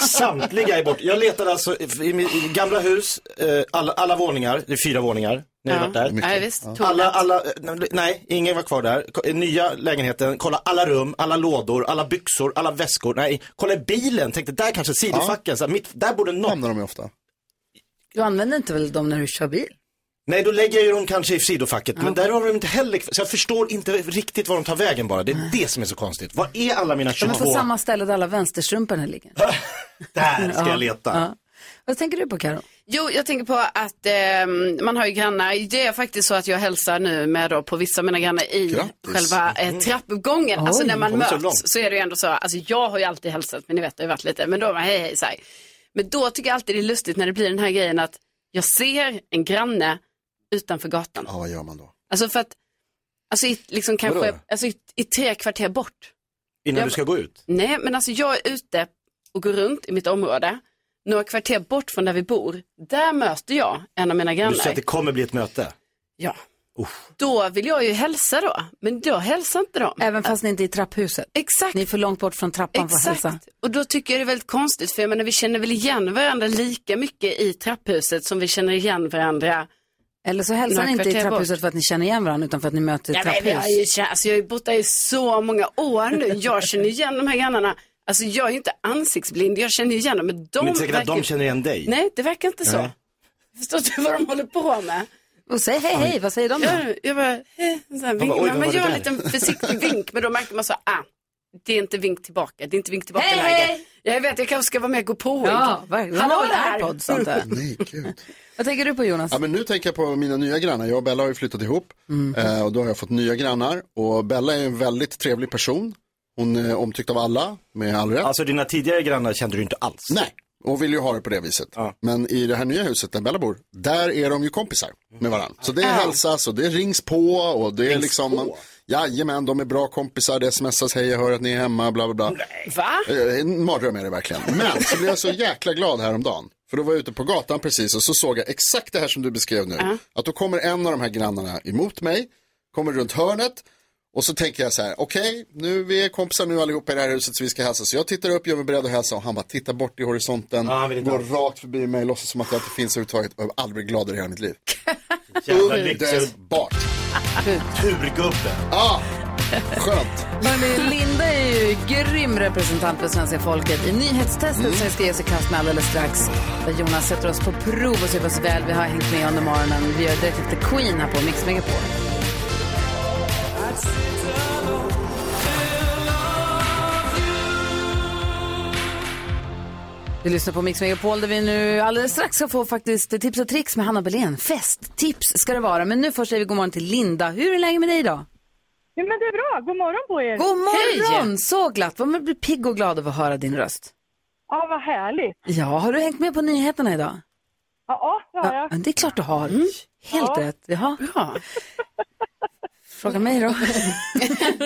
Samtliga är bort. Jag letade alltså i, i mitt gamla hus, eh, alla, alla våningar, det är fyra våningar. Ni har Ja. varit där. Mycket. Ja, visst. Ja. Alla, alla, eh, nej, ingen var kvar där. Ko- Nya lägenheten, kolla alla rum, alla lådor, alla byxor, alla väskor. Nej, kolla i bilen, tänkte där kanske sidofacken, så här, mitt, där borde någon. Hamnar de ju ofta. Du använder inte väl dem när du kör bil? Nej, då lägger jag ju dem kanske i sidofacket, men där har de inte heller kvar. Så jag förstår inte riktigt var de tar vägen bara. Det är det som är så konstigt. Var är alla mina De 22? är på samma ställe där alla vänsterstrumporna ligger. Där ska Ja, jag leta. ja. Vad tänker du på Karo? Jo, jag tänker på att ehm, man har ju grannar. Det är faktiskt så att jag hälsar nu med då på vissa av mina grannar i Grattis. själva Mm. eh, trappuppgången. Oj, alltså när man kommer så möts så, långt. är det ju ändå så. Alltså jag har ju alltid hälsat, men ni vet det har ju varit lite. Men då har man hej hej så här. Men då tycker jag alltid det är lustigt när det blir den här grejen att jag ser en granne utanför gatan. Ja, vad gör man då? Alltså för att, alltså i, liksom kanske, Vadå? alltså i, i tre kvarter bort. Innan Jag- du ska gå ut? Nej, men alltså jag är ute och går runt i mitt område, några kvarter bort från där vi bor. Där möter jag en av mina Du säger grannar. att det kommer bli ett möte. Ja. Då vill jag ju hälsa då, men då hälsar inte de. Även fast ni inte är i trapphuset? Exakt. Ni är för långt bort från trappan för att Exakt. hälsa. Och då tycker jag det är väldigt konstigt, för jag menar vi känner väl igen varandra lika mycket i trapphuset som vi känner igen varandra. Eller så hälsar Några ni inte i kvarter bort. trapphuset för att ni känner igen varandra utan för att ni möter i Ja, men, jag, har trapphus. ju, känt- alltså, jag har ju bott där i så många år nu. Jag känner igen de här grannarna. Alltså jag är ju inte ansiktsblind, jag känner ju igen dem. Men de Men det är inte säkert att verkar- de känner igen dig. Nej, det verkar inte så. Nej. Förstår du vad de håller på med? Och säg hej, hej, vad säger de då? Jag, jag bara, hej, så här, bara, vink, oj, man, vad var man det gör en där? liten försiktig vink, men då märker man så, ah, det är inte vink tillbaka, det är inte vink tillbaka Hej, läge. hej! Jag vet, jag kanske ska vara med och gå på. Ja, verkligen. Hallå Hon har väl där! AirPods, antar jag. Nej, gud. Vad tänker du på Jonas? Alltså- Ja, men nu tänker jag på mina nya grannar. Jag och Bella har ju flyttat ihop eh, och då har jag fått nya grannar. Och Bella är en väldigt trevlig person. Hon är omtyckt av alla, med all rätt. Alltså dina tidigare grannar kände du inte alls? Nej, och vill ju ha det på det viset. Men i det här nya huset där Bella bor, där är de ju kompisar med varandra. Så det hälsas och det rings på och det är Rings liksom, på? man, jajamän, de är bra kompisar, det smsas, hej jag hör att ni är hemma, bla bla bla. Va? Eh, En mardröm är det verkligen. Men så blev jag så jäkla glad häromdagen. För då var jag ute på gatan precis och så såg jag exakt det här som du beskrev nu. Att då kommer en av de här grannarna emot mig, kommer runt hörnet och så tänker jag så här, okej, nu vi är kompisar nu allihopa i det här huset så vi ska hälsa. Så jag tittar upp, gör mig beredd att hälsa och han bara tittar bort i horisonten, går rakt förbi mig, låtsas som att jag inte finns överhuvudtaget och jag har aldrig blivit gladare i hela mitt liv. Jävla lyxig. Underbart! Turgubbe. Ah, skönt. Hörrni, Linda är ju grym representant för svenska folket i nyhetstestet Mm. som vi ska ge oss i kast med alldeles strax. Där Jonas sätter oss på prov och ser hur pass väl vi har hängt med under morgonen. Vi gör direkt efter Queen här på Mix Megapol. Du lyssnar på Mix Megapol där vi nu alldeles strax ska få faktiskt tips och tricks med Hanna Belén. Festtips ska det vara. Men nu först säger vi god morgon till Linda. Hur är läget med dig idag? Jo, men det är bra. God morgon på er. God morgon! Så glatt. Vad man blir pigg och glad av att höra din röst. Ja, vad härligt. Ja, har du hängt med på nyheterna idag? Ja, ja, det har jag. Men det är klart du har. Mm, Helt Ja. rätt. Jaha. Bra. Fråga mig då.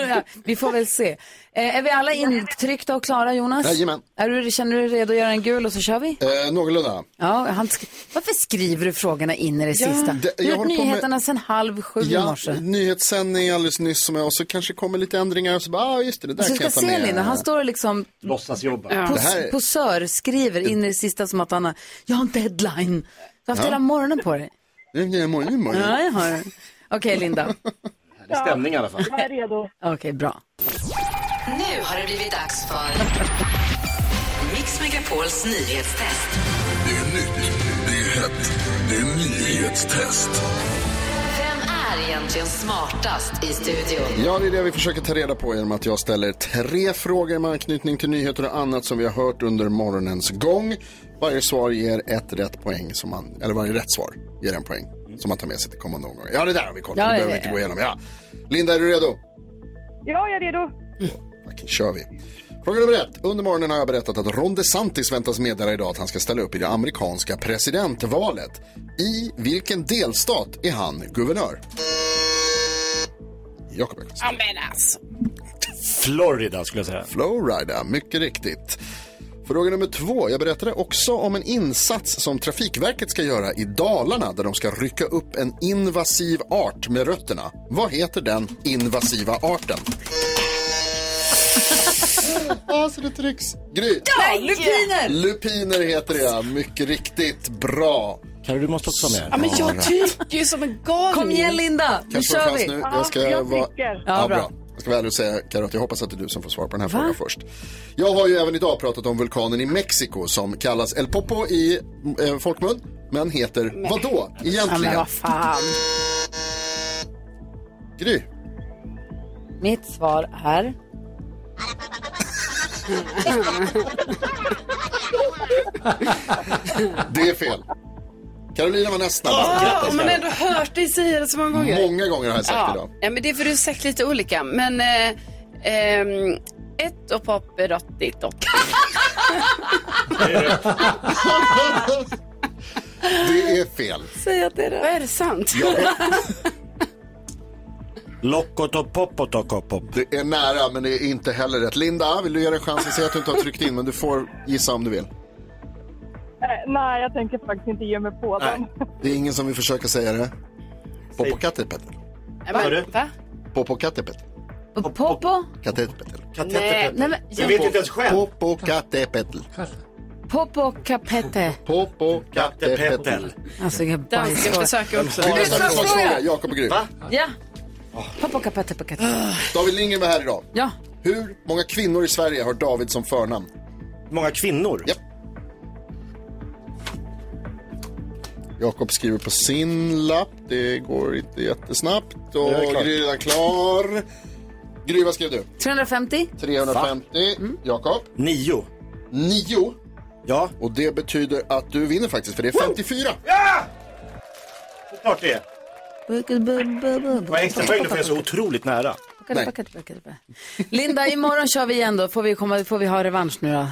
ja, vi får väl se. Eh, är vi alla intryckta och klara, Jonas? Jajamän. Är du, känner du dig redo att göra en gul och så kör vi? Eh, någorlunda. Ja, han sk- Varför skriver du frågorna in i det Ja. sista? Det- Du jag har gjort håller på med- nyheterna sedan halv sju i Ja, morse. nyhetssändning alldeles nyss som jag, och så kanske kommer lite ändringar och så bara, ah, just det, det där Så du kan ska jag ta se med. Linda, han står och liksom Låtsasjobba. Ja. Det här- Posör skriver in i det sista som att han har, jag har en deadline. Du har haft Ja. hela morgonen på dig. Det är en morgon, morgon. Ja, jag har Okej, Linda. Det är stämning i alla fall. Jag är redo. Okej, bra. Nu har det blivit dags för Mix Megapols nyhetstest. Det är nytt, det är hett, det är nyhetstest. Vem är egentligen smartast i studion? Ja, det är det vi försöker ta reda på genom att jag ställer tre frågor med anknytning till nyheter och annat som vi har hört under morgonens gång. Varje svar ger ett rätt poäng, som man, eller varje rätt svar ger en poäng som man tar med sig till kommande omgång. Ja, det där har vi kollat, Ja, ja, det behöver vi ja, inte ja. gå igenom. Ja. Linda, är du redo? Ja, jag är redo. kör vi. Fråga nummer ett. Under morgonen har jag berättat att Ron DeSantis väntas meddela idag att han ska ställa upp i det amerikanska presidentvalet. I vilken delstat är han guvernör? Jakob Ekqvist. Ja, men alltså. Florida skulle jag säga. Florida, mycket riktigt. Fråga nummer två. Jag berättade också om en insats som Trafikverket ska göra i Dalarna där de ska rycka upp en invasiv art med rötterna. Vad heter den invasiva arten? Ja, så det trycks. Gry. Ja, lupiner! Lupiner heter det, ja. mycket riktigt bra. Kan du måste också med. Ja, men jag tycker ju som en galning. Kom igen, Linda. Kan jag få en chans nu? Jag ska vara... Ja, bra. Jag ska vara ärlig och säga, Karot, jag hoppas att det är du som får svara på den här Va? frågan först. Jag har ju även idag pratat om vulkanen i Mexiko som kallas El Popo i eh, folkmun, men heter vadå Ja, men egentligen? vad fan. Gry. Mitt svar är... Det är fel. Carolina var nästan. Ja, man har Ah, ändå hört dig säga det så många gånger. Många gånger har jag sagt ja. idag. Ja, men det är för du har sagt lite olika. Men eh, ehm, ett och pop är rått ditt och. Det är fel. Säg att det är rätt. Vad är det sant? Lokotopopotokopop. Det är nära, men det är inte heller rätt. Linda, vill du ge dig en chans? Jag ser att du inte har tryckt in, men du får gissa om du vill. Eh, nej, jag tänker faktiskt inte ge mig på den. Det är ingen som vill försöka säga det. Popokatepet. Vad sa du? Va? Popokatepet. Popo? Katepetel. Nej, nej, men- Du vet inte ens själv. Popokatepetel. Popo Capete. Popokatepetel. Alltså, jag Dansken försöker också. Vi har en snabbsvarsfråga. Utslagsfråga. Jakob och Gry. Ja. Popo Capete, Popo Capete. David Lindgren var här idag. Ja. Hur många kvinnor i Sverige har David som förnamn? Många kvinnor? Ja. Jakob skriver på sin lapp. Det går inte jättesnabbt. Jag är Och klar. Gry är redan klar. Gry, vad skrev du? 350? 350. Jakob? 9. 9? Ja. Och det betyder att du vinner faktiskt, för det är 54. Såklart det är. Det var extra poäng då, för jag är så otroligt nära. Nej. Linda, imorgon kör vi igen då. Får vi, komma, får vi ha revansch nu då?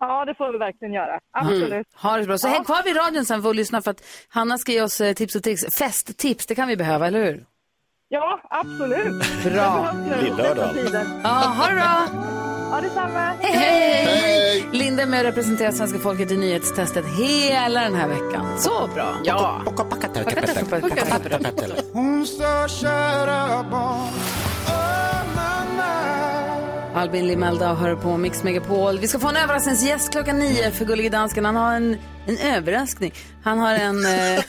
Ja, det får vi verkligen göra. Mm. Absolut. Ha det så bra. Så häng kvar vid radion sen för att lyssna för att Hanna ska ge oss eh, tips och tricks. Festtips, det kan vi behöva, eller hur? Ja, absolut. Bra. Ja, ha det bra. Ja, detsamma. Hej, hej, hej. Linda är med och representerar svenska folket i nyhetstestet hela den här veckan. Så bra. Ja. Hon sa kära barn Albin Limelda hör på Mix Megapol. Vi ska få en överraskningsgäst klockan nio för Gullige Dansken. Han har en, en överraskning. Han har en, eh,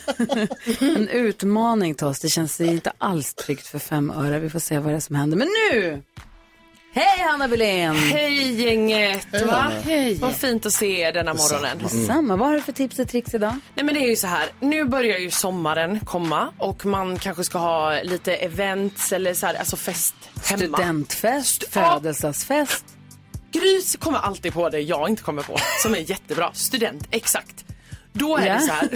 en utmaning till oss. Det känns inte alls tryggt för fem öre. Vi får se vad det är som händer. Men nu! Hej Hanna Belén! Hej gänget! Hej, va? Anna. Hej. Mm. Vad fint att se er denna morgonen. Samma. Vad har du för tips och tricks idag? Nej men det är ju så här, nu börjar ju sommaren komma och man kanske ska ha lite events eller så här, alltså fest hemma. Studentfest, födelsedagsfest. Grys kommer alltid på det jag inte kommer på, som är jättebra. Student, exakt. Då är det så här.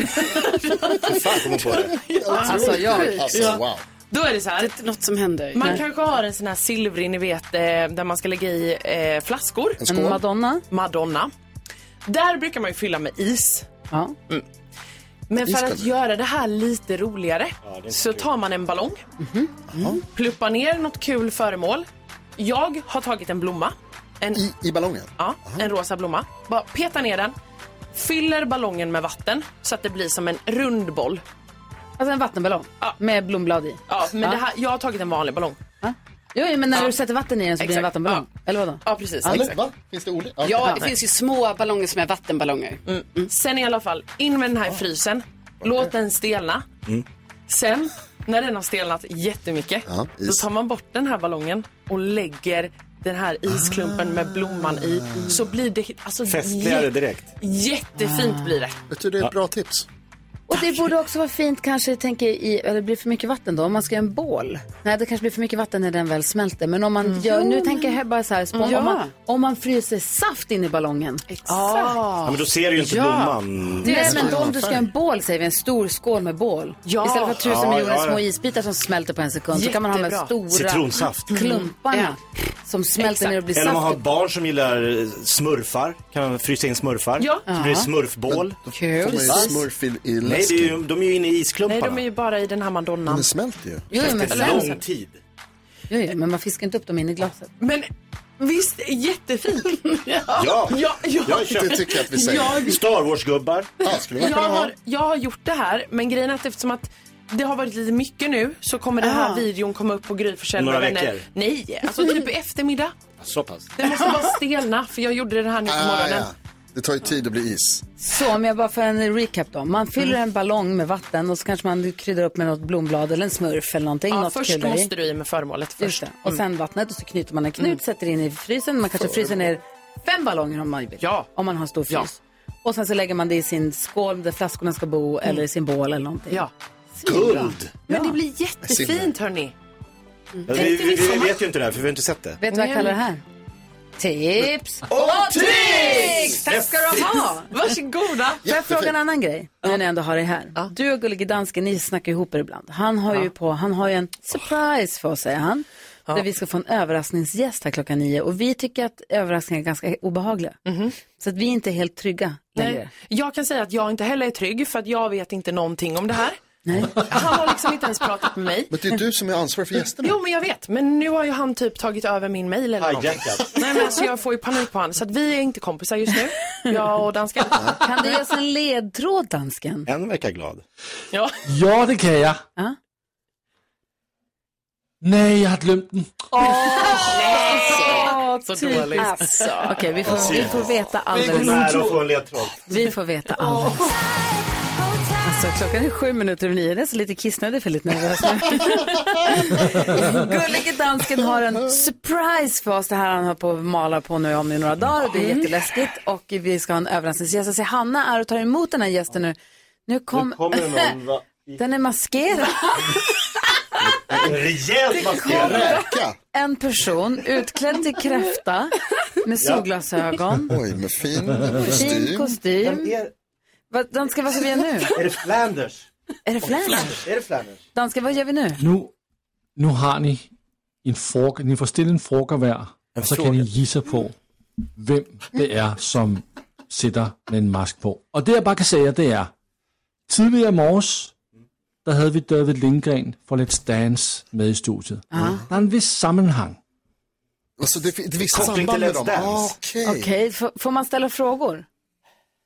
Hur fan kom hon på det? Alltså, jag- Alltså, wow. Då är det så här. Det är något som händer. Man Nej. kanske har en sån här silvrig, ni vet, eh, där man ska lägga i eh, flaskor. En skål. En Madonna. Madonna. Där brukar man ju fylla med is. Ja. Mm. Men för Iskall. att göra det här lite roligare det är inte så kul. tar man en ballong, Mhm. Mm. pluppar ner något kul föremål. Jag har tagit en blomma. En, I, ballongen? Ja, en rosa blomma. Bara petar ner den, fyller ballongen med vatten så att det blir som en rund boll. Alltså en vattenballong med blomblad i. Ja, men Ja. Det här, jag har tagit en vanlig ballong. Jo, jo, men när Ja. du sätter vatten i den så blir det en Exakt. vattenballong. Eller vadå? Ja, precis. Eller, Exakt. va? Finns det olika? Ja, Ja, det finns ju små ballonger som är vattenballonger. Mm. Sen i alla fall, in med den här i frysen. Låt den stelna. Mm. Sen, när den har stelnat jättemycket, Ja, is. då tar man bort den här ballongen och lägger den här isklumpen med blomman i. Ah. Så blir det alltså, Festligare jä- direkt. jättefint blir det. Vet du, det är ett bra tips. Och det borde också vara fint kanske, tänker jag, i, eller det blir för mycket vatten då, om man ska göra en bål. Nej, det kanske blir för mycket vatten när den väl smälter. Men om man gör, nu Jo, tänker jag bara så här, spån, Mm. Ja. om, man, om man fryser saft in i ballongen. Exakt. Ja, men då ser du ju inte blomman. Nej, men då om du ska göra en bål säger vi, en stor skål med bål. Mm. Ja. Istället för tusen Ja, miljoner ja, ja. små isbitar som smälter på en sekund så kan man ha de här Jättebra. stora Citronsaft. Mm. klumparna som smälter ner och blir Eller om man har saft. barn som gillar eh, smurfar, kan man frysa in smurfar. Ja. Så blir det Ja. smurfbål. Kul. Får man ju Va? smurf i, i Nej, det är ju, de är ju inne i Nej, isklumparna. de är ju bara i den här madonnan. Den smälter ju. Jo, jo, men Efter sen- lång tid. Jo, jo, men man fiskar inte upp dem in i glaset. Men visst, jättefint. ja. Ja, ja, ja. jag köper. Jag- Star Wars-gubbar. Ja, Jag har, jag har gjort det här, men grejen är att eftersom att det har varit lite mycket nu så kommer den här Ah. videon komma upp på Gry Forssell med Några vänner. veckor? Nej, alltså typ i eftermiddag. Så pass. Det måste bara stelna, för jag gjorde det här nu på Ah, morgonen. ja. Det tar ju tid att bli is. Så om jag bara får en recap då. Man fyller Mm. en ballong med vatten och så kanske man kryddar upp med något blomblad eller en smurf eller någonting. Ja, något först kryddar i. måste du i med föremålet Just först. Mm. det. Och sen vattnet och så knyter man en knut, sätter in i frysen. Man kanske fryser ner fem ballonger om man vill. Om man har stor frys. Och sen så lägger man det i sin skål där flaskorna ska bo eller i sin bål eller någonting. Mm. Ja. Svinbra. Men det blir jättefint hörni. Ja, vi, vi, vi vet ju inte det här, för vi har inte sett det. Vet du vad jag kallar det här? Tips Och tricks! Tack ska du ha! Varsågoda! Får jag fråga en annan grej? När ni ändå har det här. Du och Gullige Dansken, ni snackar ihop er ibland. Han har ju på, han har ju en surprise för oss, säger han. Där vi ska få en överraskningsgäst här klockan nio. Och vi tycker att överraskningar är ganska obehagliga. Så att vi inte är helt trygga längre. Mhm. Nej. Jag kan säga att jag inte heller är trygg för att jag vet inte någonting om det här. Han har liksom inte ens pratat med mig. Men det är du som är ansvarig för gästerna. Jo men jag vet, men nu har ju han typ tagit över min mail eller någonting. Hijackat. Nej men alltså jag får ju panik på honom. Så att vi är inte kompisar just nu, jag och dansken. Kan du ge oss en ledtråd, dansken? En verkar glad. Ja. Ja, det kan jag. Ja. Nej, jag har glömt den. Så dåligt. Alltså. Okej, vi, får, vi får veta alldeles. få en ledtråd. Vi får veta alldeles. Alltså, klockan är sju minuter över nio. Jag är nästan lite kissnödig för lite nervös nu. Gullige dansken har en surprise för oss. Det här han har på att mala på nu om i några dagar. Det är jätteläskigt. Och vi ska ha en överraskningsgäst. Alltså, Hanna är och tar emot den här gästen nu. Nu, kom... Nu kommer någon, va? den är maskerad. Rejält kom maskerad. en person utklädd till kräfta med Ja. solglasögon. Oj, med fin Fin kostym. kostym. Vad- Danska, vad ska vi göra nu? Är det Flanders? Är det Flanders? Är det Flanders? Danska, vad gör vi nu? Nu, nu har ni en fråga, ni får ställa en fråga var. Och så kan ni gissa på vem det är som sitter med en mask på. Och det jag bara kan säga det är, tidigare i morges, där hade vi David Lindgren från Let's Dance med i studiet. Ah. Der er en vis sammenhang. Alltså det, det visst Koppling samband till med Let's dem. Ah, Dance. Okej, f- får man ställa frågor?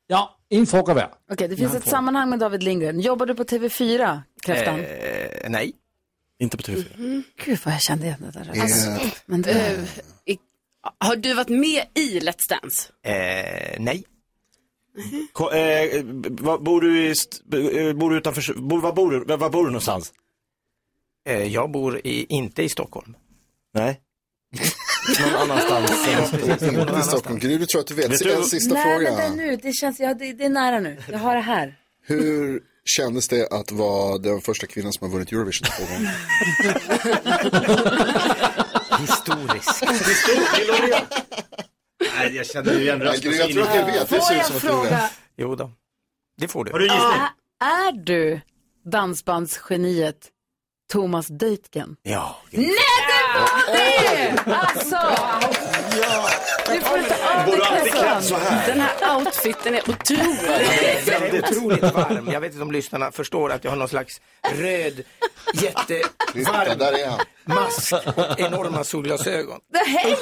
Ja, en fråga hver. Okej, det finns Ja, ett fråga. sammanhang med David Lindgren. Jobbar du på TV4, Kräftan? Eh, nej. Inte på TV4. Mm. Gud vad jag kände igen det där. Alltså, men det- eh, i- har du varit med i Let's Dance? Eh, nej. Ko, eh, b- vad- bor du i, st- eh, bor du utanför, bor, var, bor du, var, var bor du någonstans? Eh, jag bor i, inte i Stockholm. Nej. Någon annanstans. Ja, precis. Inte i Stockholm. Gry, du tror att du vet. Vet En du- sista Nej, fråga. vänta nu. Det känns, ja, det, det är nära nu. Jag har det här. Hur kändes det att vara den första kvinnan som har vunnit Eurovision två gånger? Historiskt. Nej, jag känner ju igen Nej, Gry, jag tror att jag vet. Det ser ut som att du vet. Jo då. Det får du. Har du Ä- är du dansbandsgeniet Thomas Deutgen? Ja. Nej, det var det! Alltså! Du får inte av dig Borde alltid kräftan. klädd så här. Den här outfiten är Den otrolig. är väldigt otroligt varm. Jag vet inte om lyssnarna förstår att jag har någon slags röd, jättevarm där är han. mask och enorma solglasögon. Hej!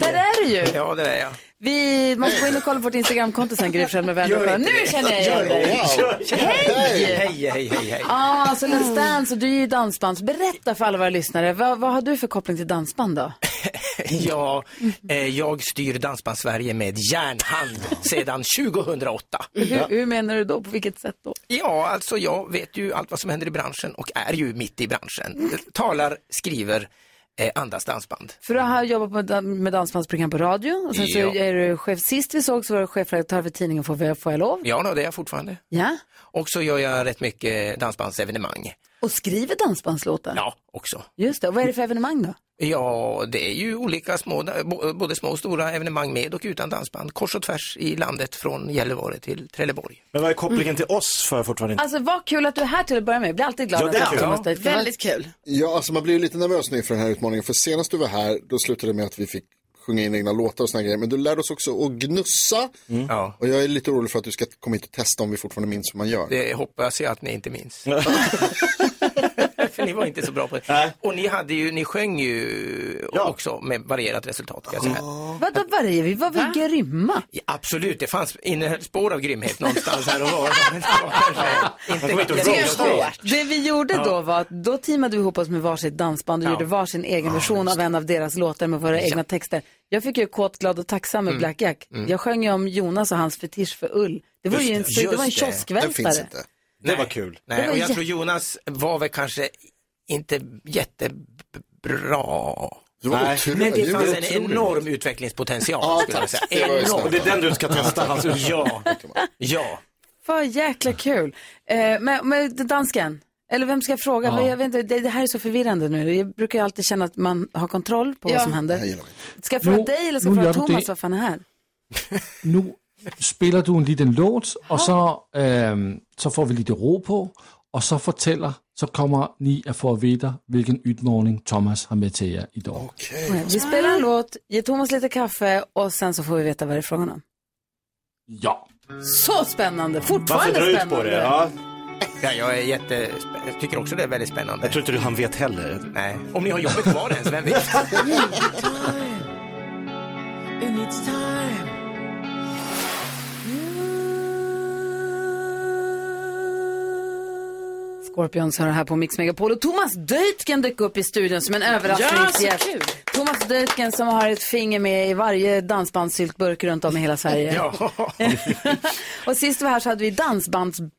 Där är du ju! Ja, det är jag. Vi måste gå in och kolla på vårt Instagramkonto sen, Gry Forssell med vänner. Nu känner jag igen dig! Hej! Hej! Hej, hej, hej, hej. Ah, så Let's Dance och du är ju dansbands. Berätta för alla våra lyssnare, vad, vad har du för koppling till dansband då? Ja, eh, jag styr Dansbandssverige med järnhand sedan 2008. Hur, hur menar du då? På vilket sätt då? Ja, alltså jag vet ju allt vad som händer i branschen och är ju mitt i branschen. Talar, skriver, eh, andas dansband. För du har jobbat med, dan- med dansbandsprogram på radio och sen så Ja. är du chef, sist vi såg så var du chefredaktör för tidningen Får, vi- får jag lov? Ja, no, det är jag fortfarande. Ja, Och så gör jag rätt mycket dansbandsevenemang. och skriver dansbandslåtar? Ja, också. Just det, och vad är det för evenemang då? Ja, det är ju olika små, bo- både små och stora evenemang med och utan dansband. Kors och tvärs i landet från Gällivare till Trelleborg. Men vad är kopplingen till oss för jag fortfarande inte? Alltså vad kul att du är här till att börja med, jag blir alltid glad Ja, att det är jag kul. Thomas Ja. Deutgen. Väldigt kul. Ja, alltså man blir ju lite nervös nu inför den här utmaningen. För senast du var här, då slutade det med att vi fick sjunga in egna låtar och såna grejer. Men du lärde oss också att gnussa. Och jag är lite orolig för att du ska komma hit och testa om vi fortfarande minns hur man gör. Det hoppas jag att ni inte minns. För ni var inte så bra på det. Och ni, hade ju, ni sjöng ju också med varierat resultat. Kan jag säga. Vadå varje, vi var väl grymma? Ja, absolut, det fanns innehöll spår av grymhet någonstans här och var. Men det var kanske inte- Det, jag ska- det vi gjorde Ja. då var att då teamade vi ihop oss med varsitt dansband och Ja. gjorde varsin egen version av en av deras låtar med våra egna texter. Jag fick ju Kåt, glad och tacksam med Mm. Black Jack. Mm. Jag sjöng ju om Jonas och hans fetisch för ull. Det var ju en, Just det, det var en just det. kioskvältare. Nej. Det var kul. Det Nej, var och jag jätte- tror Jonas var väl kanske inte jättebra. Det var Nej. otro- Men det det var fanns en otroligt. enorm utvecklingspotential. Ja, skulle jag tack. säga. Det var ju Enorm. snällt. Det är den du ska testa, alltså. hans ull. ja. ja. Vad jäkla kul. Eh, men, men dansken, eller vem ska jag fråga? Ja. Vad- Jag vet inte, det, det här är så förvirrande nu. Jag brukar ju alltid känna att man har kontroll på vad som händer. Ska jag fråga Jo, dig eller ska nu jag fråga gör du Thomas det. varför han är här? Nu spiller du en liten låt, og så, øhm, så får vi lidt ro på, og så fortæller, så kommer ni at få at vide, hvilken ytmorning Thomas har med til jer i dag. Eh. Vi spelar en låt, ger Thomas lite kaffe och sen så får vi veta vad det är frågan om. Ja. Så spännande, Varför fortfarande dra ut spännande. på det? Ja. Ja, jag är jätte... jag tycker också det är väldigt spännande. Jag tror inte du han vet heller. Nej. Om ni har jobbet kvar ens, vem vet? Scorpions hör här på Mix Megapol och Thomas Deutgen dök upp i studion som en Ja, överraskningsgäst. så kul. Thomas Deutgen som har ett finger med i varje dansbandssyltburk runt om i hela Sverige. Ja. och sist vi var här så hade vi dansbandsbattle.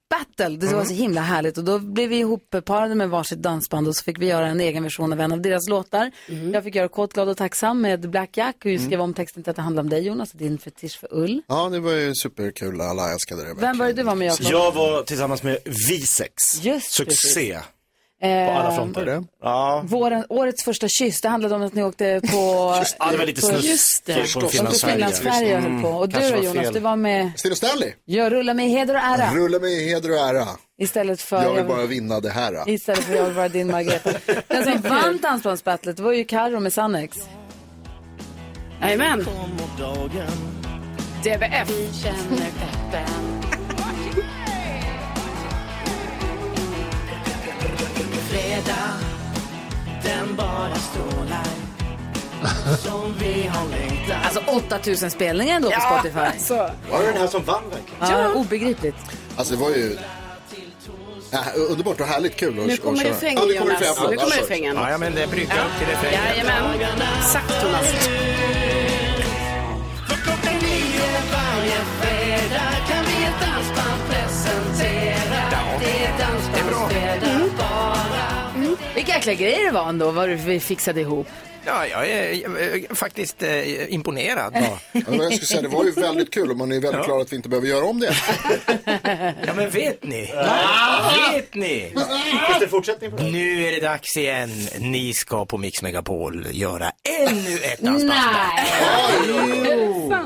Det var så Mm. himla härligt och då blev vi ihopparade med varsitt dansband och så fick vi göra en egen version av en av deras låtar. Mm. Jag fick göra Kåt, glad och tacksam med Black Jack och skrev om texten till att det handlar om dig Jonas, din fetisch för ull. Ja, det var ju superkul. Alla älskade det. Vem var det du var med Jakob? Jag var tillsammans med Visex. Just Succé. precis. På alla Eh, fronter. Ja. Våren, årets första kyss, det handlade om att ni åkte på... Just det. Ja, det var lite på- snusk- Just det. på Åkte Finlandsfärja. Finlandsfärja och höll Mm, på. Och du kanske då var Jonas, fel. du var med... Stine Stanley. Jag rullar mig i heder och ära. Rulla mig i heder och ära. Istället för... Jag vill bara vinna det här. då. Istället för jag vill vara din Margareta. Den som vann dansbandsbattlet var ju Carro med Sannex. Jajamän. DBF. känner peppen. Fredag, den bara strålar som vi har längtat Alltså 8000 spelningar ändå på Ja, Spotify. Var det den här som vann verkligen? Ja, obegripligt. Alltså det var ju äh, underbart och härligt kul att Nu kommer att köra. refrängen, Ja, nu kommer Jonas. refrängen, förlåt. Nu kommer Alltså, refrängen. sorry. Ja, men det brukar Ja. alltid refrängen. Jajamän. Exakt, Jonas. Klockan nio varje fredag kan vi ett dansband presentera Det är dansbandsfredag bara Mm. Vilka jäkla grejer det var ändå, vad vi fixade ihop. Ja, jag är, eh, faktiskt eh, imponerad. Ja, men jag skulle säga, det var ju väldigt kul och man är ju väldigt Ja. glad att vi inte behöver göra om det. Ja, men vet ni? Vet ni? Nu är det dags igen. Ni ska på Mix Megapol göra ännu ett Nej!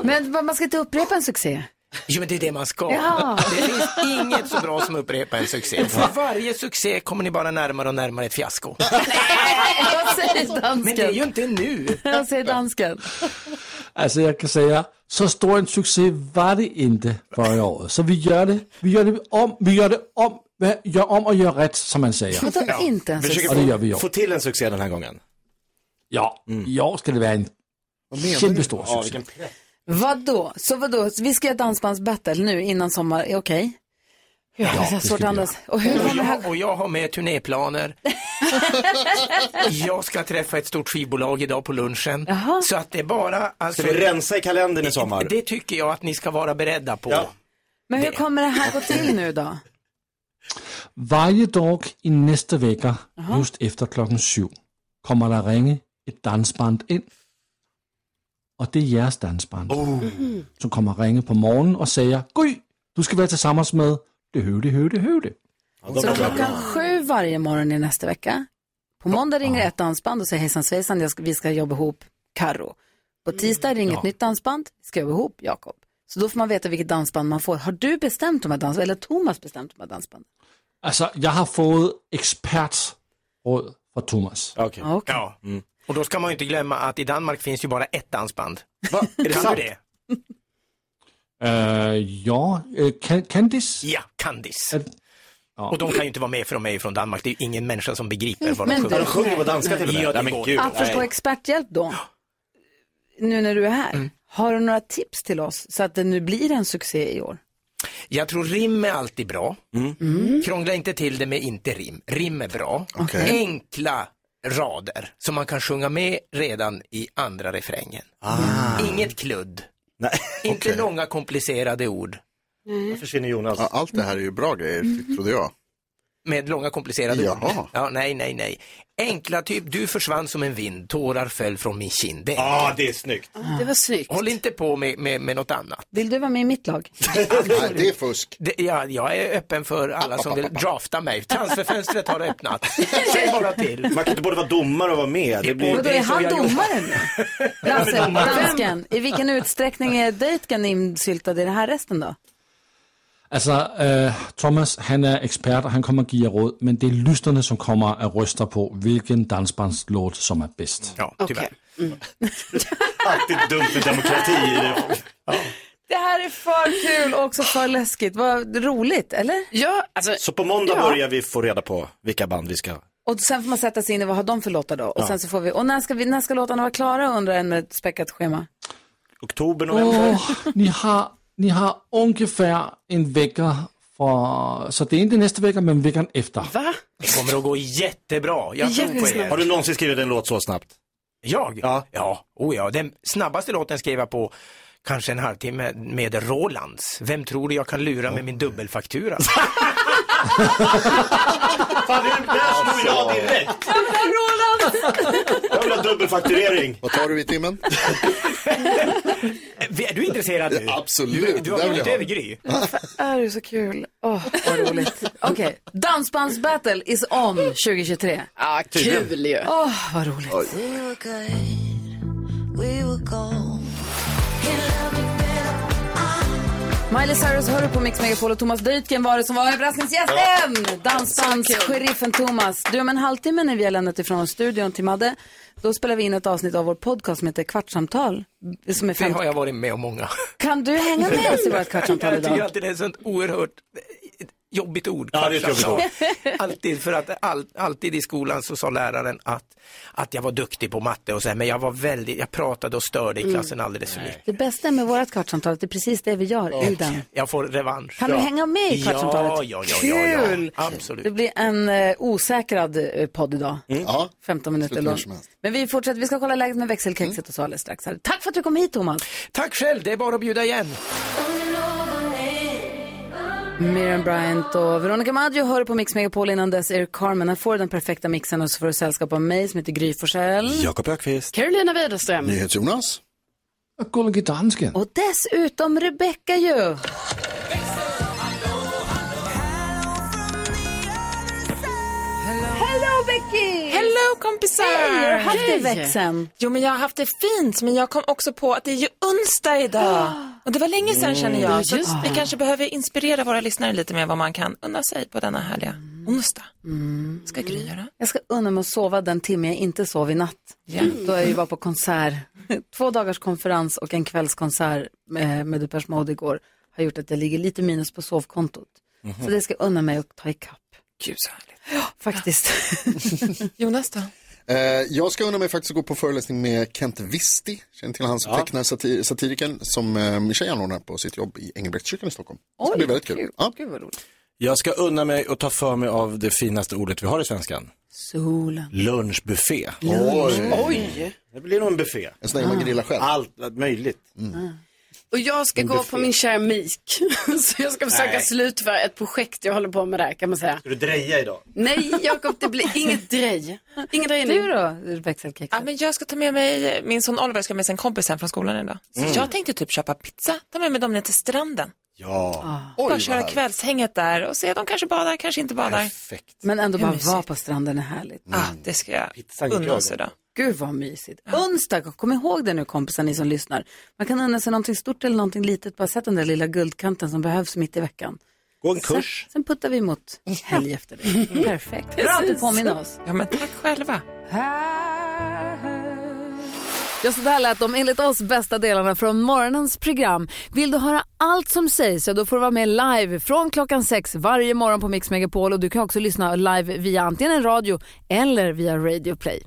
Men vad, man ska inte upprepa en succé. Jo, men det är det man ska. Ja. Det finns inget så bra som att upprepa en succé. För varje succé kommer ni bara närmare och närmare ett fiasko. Vad säger dansken? Men det är ju inte nu. Vad säger dansken? Altså, jeg kan sige jer, så stor en succes var det ikke for i året. Så vi gør det, vi gør det om, vi gør det om, hvad, gør om og gør ret, som man siger. Vadå inte en Vi succé? försöker få- Och det gör vi i år. få till en succé den här gången. Ja, i år skal det være en menar Mm. du? kæmpestor Ja, succes. vilken Vadå? Så vadå? Så Vi ska göra dansbandsbattle nu innan sommar, är okej? Ja, det är svårt att andas. Och hur och, jag, och jag har med turnéplaner. jag ska träffa ett stort skivbolag idag på lunchen. Så att det är bara... Alltså, Ska vi rensa i kalendern i sommar? Det tycker jag att ni ska vara beredda på. Men hur kommer det här gå till nu då? Varje dag i næste vecka, just efter klokken 7, kommer der ringe et dansband ind. Og det er jeres dansband, Oh. Mm. som kommer ringe på morgenen og siger, Gry, du skal være til sammen med det høvde, høvde, høvde. Så klockan sju varje morgon i nästa vecka. På måndag ringer ett dansband och säger hejsan svejsan, jag ska, vi ska jobba ihop Karo. På tisdag Mm. ringer ett nytt dansband, vi ska jobba ihop Jakob. Så då får man veta vilket dansband man får. Har du bestämt de här dansbanden, eller Thomas bestämt de här dansbanden? Altså, jeg har fået ekspertråd fra Thomas. Okay. Ja. Mm. Och då ska man ju inte glömma att i Danmark finns ju bara ett dansband. Va? Är det kan sant? du det? Øh, ja, øh, Can- Candice? Ja, Candice. Och de kan ju inte vara med för de är ju från Danmark. Det är ju ingen människa som begriper vad de Men sjunger. du- De sjunger på danska till och med. Ja, det Nej, men går gud. ju. Apropå experthjälp då, nu när du är här, har du några tips till oss så att det nu blir en succé i år? Jag tror rim är alltid bra. Mm. Mm. Krångla inte till det med inte rim. Rim är bra. Okej. Enkla rader som man kan sjunga med redan i andra refrängen. Ah. Inget kludd. Inte långa komplicerade ord. Då försvinner Jonas. Mm. Ja, allt det här är ju bra grejer, trodde jag. Med långa komplicerade Jaha. ord. Ja, nej, nej, nej. Enkla typ, du försvann som en vind, tårar föll från min kind. Ja, ah, det är snyggt. Det var snyggt. Håll inte på med, med, med något annat. Vill du vara med i mitt lag? Nej, det är fusk. ja, jag är öppen för alla som vill drafta mig. Transferfönstret har öppnat. Säg bara till. Man kan inte både vara domare och vara med. Det blir... Vadå, är han domaren nu? Lasse, Han är domare. dansken, i vilken utsträckning är Döjtgen insyltad i den här resten då? Altså, øh, Thomas, han er ekspert, og han kommer og giver råd, men det er lysterne, som kommer og ryster på, hvilken dansbandslåt, som er bedst. Ja, tyvärr. Mm. Alltid dumt med demokrati i det. Det här är för kul och också för läskigt. Vad roligt, eller? Ja, alltså. Så på måndag Ja. börjar vi få reda på vilka band vi ska... Och sen får man sätta sig in i vad har de för låtar då? Och Ja. sen så får vi, och när ska, vi, när ska låtarna vara klara undrar en med ett späckat schema. Oktober, november. Åh, ni har, ni har ungefär en vecka for... Så det er ikke næste vecka, men veckan efter. Hvad? Det kommer att gå jättebra. Jag tror på er. Har du någonsin skrivit en låt så snabbt? Jag? Ja. Ja, oh, ja. Den snabbaste låten skrev jag på kanske en halvtimme med Rolands. Vem tror du jag kan lura med min dubbelfaktura? Fan, det är där snor jag direkt. Jävla Roland! Jag vill ha dubbelfakturering. Vad tar du i timmen? är du intresserad nu? absolut. Du, du har Det vill vunnit jag ha. över Gry. Är du så kul? Åh, vad roligt. Okej, dansbandsbattle is on 2023. Ja, kul ju. Åh, vad roligt. We were good, we were gold. Miley Cyrus hör du på Mix Megapol och Thomas Dytken var det som var överraskningsgästen. Dansbands, sheriffen Thomas. Du, om en halvtimme när vi har lämnat ifrån oss studion till Madde, då spelar vi in ett avsnitt av vår podcast som heter Kvartsamtal. Som är Det fem... har jag varit med om många. Kan du hänga med oss i vårt kvartsamtal Jag tycker idag? alltid det är ett sånt oerhört eh, jobbigt ord. Ja, det är ett jobbigt ord. alltid, för att all, alltid i skolan så sa läraren att, att jag var duktig på matte och så här, men jag var väldigt, jag pratade och störde Mm. i klassen alldeles för mycket. Det bästa med vårt kvartsamtal är att det är precis det vi gör i den. Jag får revansch. Kan du hänga med i Kvartsamtalet? Ja, ja, ja, ja, Kul! ja. absolut. Det blir en eh, osäkrad eh, podd idag. Ja. 15 minuter Slutar lång. när som helst. Men vi fortsätter, vi ska kolla läget med växelkexet och så alldeles strax. Här. Tack för att du kom hit Thomas. Tack själv, det är bara att bjuda igen. Miriam Bryant och Veronica Maggio hör på Mix Megapol innan dess. Eric Carmen, här får du den perfekta mixen och så får du sällskap av mig som heter Gry Forssell. Jakob Ökvist. Carolina Widerström. NyhetsJonas. Och Gullige Dansken. Och dessutom Rebecca ju. Hello Becky! Hello kompisar! Hej, har du haft det i Hej. veckan? Jo men jag har haft det fint men jag kom också på att det är ju onsdag idag. Mm, Och det var länge sedan känner Mm. Ja, jag. Så just det. vi kanske behöver inspirera våra lyssnare lite med vad man kan unna sig på denna härliga onsdag. Mm. Ska Gry göra? Jag ska unna mig att sova den timme jag inte sov i natt. Ja. Då är jag ju bara på konsert. Två dagars konferens och en kvällskonsert med, med Depeche Mode igår har gjort att jag ligger lite minus på sovkontot. Mhm. Så det ska jag unna mig att ta ikapp. Gud så härligt. Faktiskt. Jonas då? Eh, jag ska undra mig faktiskt att gå på föreläsning med Kent Visti. Känner till han som Ja. tecknar satir satiriken som eh, min tjej anordnar på sitt jobb i Engelbrektskyrkan i Stockholm. Det ska Oj, bli väldigt kul. kul. Ja. Gud vad roligt. Jag ska unna mig och ta för mig av det finaste ordet vi har i svenskan. Solen. Lunchbuffé. Oj. Det blir nog en buffé. En sån där man grillar själv. Mm. Allt möjligt. Och jag ska En gå buffé. på min keramik. Så jag ska försöka Nej. slutföra ett projekt jag håller på med där kan man säga. Ska du dreja idag? Nej Jakob, det blir inget drej. Ingen drejning. Du då, växelkexet? Ja, men jag ska ta med mig, min son Oliver ska med sig en kompis hem från skolan idag. Så Mm. jag tänkte typ köpa pizza, ta med mig dem ner till stranden. Ah. Ja. Bara vad köra härligt. kvällshänget där och se, de kanske badar, kanske inte badar. Men ändå Hur bara mysigt. vara på stranden är härligt. Ah, det ska jag Pizzan unna oss glöd. idag. Gud vad mysigt. Onsdag, kom ihåg det nu kompisar ni som lyssnar. Man kan unna sig någonting stort eller någonting litet. Bara sätt den där lilla guldkanten som behövs mitt i veckan. Gå en kurs. Sen, sen puttar vi mot helg efter Mm. det. Perfekt. Bra att du Precis. påminner oss. Ja, men tack själva. Ja, så där lät de enligt oss bästa delarna från morgonens program. Vill du höra allt som sägs så då får du vara med live från klockan sex varje morgon på Mix Megapol och du kan också lyssna live via antingen en radio eller via Radio Play.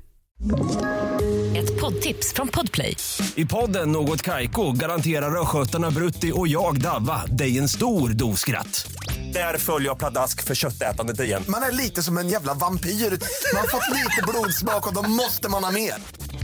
Ett poddtips från Podplay. I podden Något Kaiko garanterar östgötarna Brutti och jag, Davva, dig en stor dos skratt. Där följer jag pladask för köttätandet igen. Man är lite som en jävla vampyr. Man har fått lite blodsmak och då måste man ha mer.